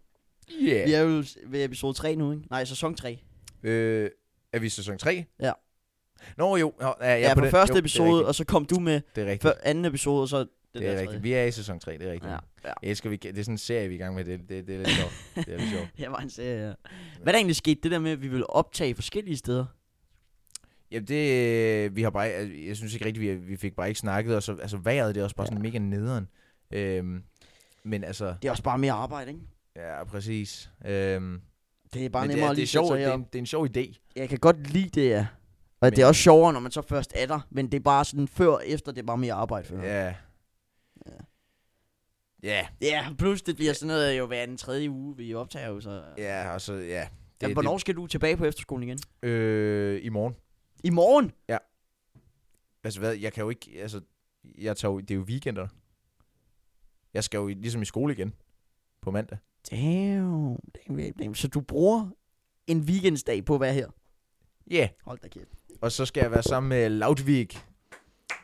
Yeah.
Vi er jo s- ved episode 3 nu, ikke? Nej, sæson 3.
Øh, er vi i sæson 3?
Ja.
Nå jo, Nå, ja, ja,
Ja, ja på,
den-
første
jo,
episode, og så kom du med
Det er rigtigt, det er
før anden episode, og så den
rigtigt. Det
der
er
tredje.
rigtigt. Vi er i sæson 3, det er rigtigt.
Ja,
Ja.
ja.
Jeg elsker, vi, det er sådan en serie, vi er i gang med. Det, det, det er lidt sjovt. det er lidt
(laughs)
sjovt.
Det var en serie, ja. Hvad er der egentlig sket, det der med, at vi ville optage forskellige steder?
Jamen det, øh, vi har bare, altså, jeg synes ikke rigtigt, vi, vi fik bare ikke snakket, og så, altså vejret, det er også bare sådan mega nederen. Øhm, men altså,
Det er også bare mere arbejde, ikke?
ja, præcis. Øhm,
Det er bare
men
nemmere
det er,
at
det er
lige
sjovt,
sætte
det
sig
er,
herop.
en, det er en sjov idé.
Jeg kan godt lide det, ja. Og
Men-
det er også sjovere, når man så først er der, men det er bare sådan før og efter, det er bare mere arbejde for
Ja.
Ja.
Ja,
ja, plus det bliver sådan noget jo hver den tredje uge, vi optager jo, så... Ja,
ja, og så, ja.
det, Jamen, hvornår skal du tilbage på efterskolen igen?
det, øh, I morgen.
I morgen?
Altså hvad, jeg kan jo ikke, altså, jeg tager jo, det er jo weekender. Jeg skal jo i- ligesom i skole igen på mandag.
Damn, damn, damn, damn. Så du bruger en weekendsdag på at være her?
Ja. Yeah.
Hold da kæft.
Og så skal jeg være sammen med Lautvik.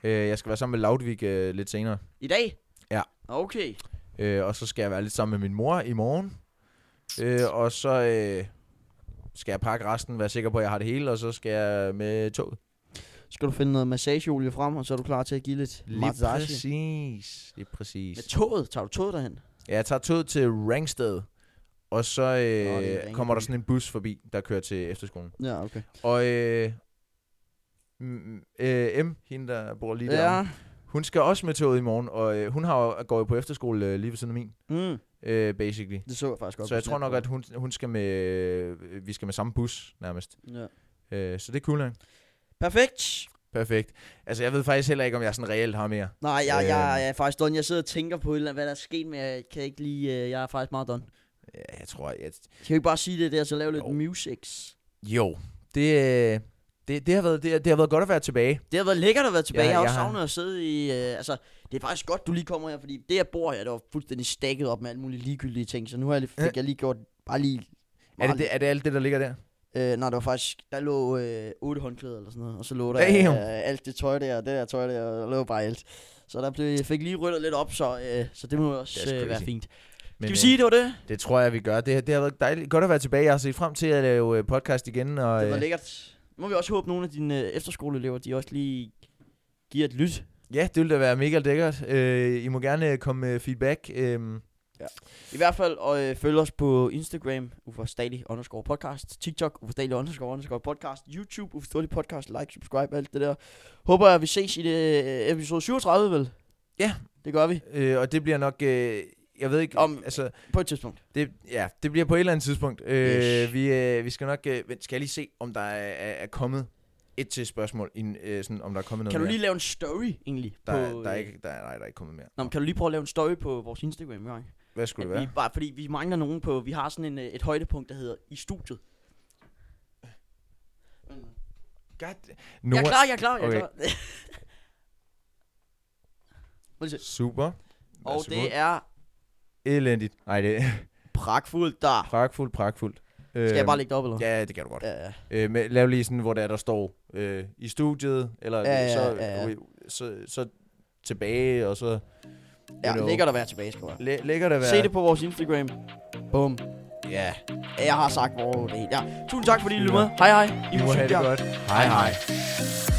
Øh, jeg skal være sammen med Lautvik øh, lidt senere.
I dag?
Ja.
Okay.
Øh, og så skal jeg være lidt sammen med min mor i morgen. Øh, og så øh, skal jeg pakke resten, være sikker på, at jeg har det hele, og så skal jeg med toget.
Skal du finde noget massageolie frem, og så er du klar til at give lidt
Lige
massage.
præcis. Lige præcis.
Med toget? Tager du toget derhen?
Ja, jeg tager toget til Rangsted, og så
er
øh,
Ringkøbing.
kommer der sådan en bus forbi, der kører til efterskolen.
Ja, okay.
Og øh, m- øh, M, hende der bor lige der,
Ja.
hun skal også med toget i morgen, og øh, hun har, jo- går jo på efterskole øh, lige ved siden af min,
Mm,
øh, basically.
det så jeg faktisk godt.
Så jeg tror nok, at hun, hun skal med, øh, vi skal med samme bus nærmest.
Ja.
Øh, så det er cool nok.
Perfekt.
Perfekt. Altså, jeg ved faktisk heller ikke, om jeg sådan reelt har mere.
Nej, jeg, jeg,
Øhm.
jeg er faktisk done. Jeg sidder og tænker på, et eller andet, hvad der er sket, men jeg kan ikke lige... øh, Jeg er faktisk meget done.
Ja, jeg tror, jeg...
Kan vi ikke bare sige det der, så lave lidt
Jo.
musics?
Jo, det, øh, det, det, har været, det, det har været godt at være tilbage.
Det har været lækkert at være tilbage.
Ja,
Ja,
jeg
jeg har også
har-
savnet at sidde i... Øh, altså, det er faktisk godt, du lige kommer her, fordi det, jeg bor her, det var fuldstændig stakket op med alle mulige ligegyldige ting. Så nu har jeg, lige-
Ja.
fik jeg lige gjort bare lige...
Er det, det, er det alt det, der ligger der?
Øh, nej, det var faktisk... Der lå øh, otte håndklæder eller sådan noget, og så lå der
Damn.
øh, alt det tøj der, og det der tøj der, og der lå bare alt. Så der blev, jeg fik lige ryddet lidt op, så, øh, så det må også
That's
øh, være
crazy.
fint.
Men,
Skal vi
øh,
sige, det var det?
Det tror jeg, vi gør. Det, det har været dejligt. Godt at være tilbage. Jeg har set frem til at lave øh, podcast igen. Og,
Det var
øh,
lækkert. Nu må vi også håbe, at nogle af dine øh, efterskoleelever, de også lige giver et lyt.
ja, det ville da være mega lækkert. Øh, I må gerne øh, komme med feedback. Øh,
I hvert fald, og øh, følg os på Instagram, uforståelig underscore podcast, TikTok, uforståelig underscore underscore podcast, YouTube, uforståelig podcast, like, subscribe, alt det der. Håber jeg, vi ses i det, øh, episode 37, vel?
Ja.
Det gør vi,
øh, og det bliver nok... Øh, jeg ved ikke...
Om-
altså,
på et tidspunkt.
det, ja, det bliver på et eller andet tidspunkt. Øh,
Yes.
vi, øh, vi skal nok... Øh, vent, skal jeg lige se, om der er, er er kommet et til spørgsmål, in, øh, sådan, om der er kommet noget
Kan du
mere.
lige lave en story, egentlig?
Der, er-
på,
der, er
øh,
ikke, der, er- nej, der er ikke kommet mere.
Nå, men kan du lige prøve at lave en story på vores Instagram, Jørgen?
Hvad skulle det
At vi,
være?
bare, fordi vi mangler nogen på, vi har sådan en, øh, et højdepunkt, der hedder i studiet.
God,
Jeg er
Nora,
klar, jeg er klar, jeg er
Okay.
klar. Må lige se.
super.
Og det er
Elendigt. Nej, det er (laughs)
pragtfuldt der.
pragtfuldt, pragtfuldt.
Skal jeg bare lægge det op, eller?
Øhm, Ja, det kan du godt.
Ja, ja.
Øh, med, lav lige sådan, hvor der, der står øh, i studiet, eller
Ja, ja,
så, øh,
ja, ja.
så, så tilbage, og så
ja
You know.
lækkert at være tilbage, skriver jeg.
læ- lægger det være.
Se det på vores Instagram. Bum.
Ja,
Jeg har sagt, hvor det er. Ja. Tusind tak, fordi I lyttede med. Hej hej. I
I må
må
have det
cykle.
godt. Hej hej.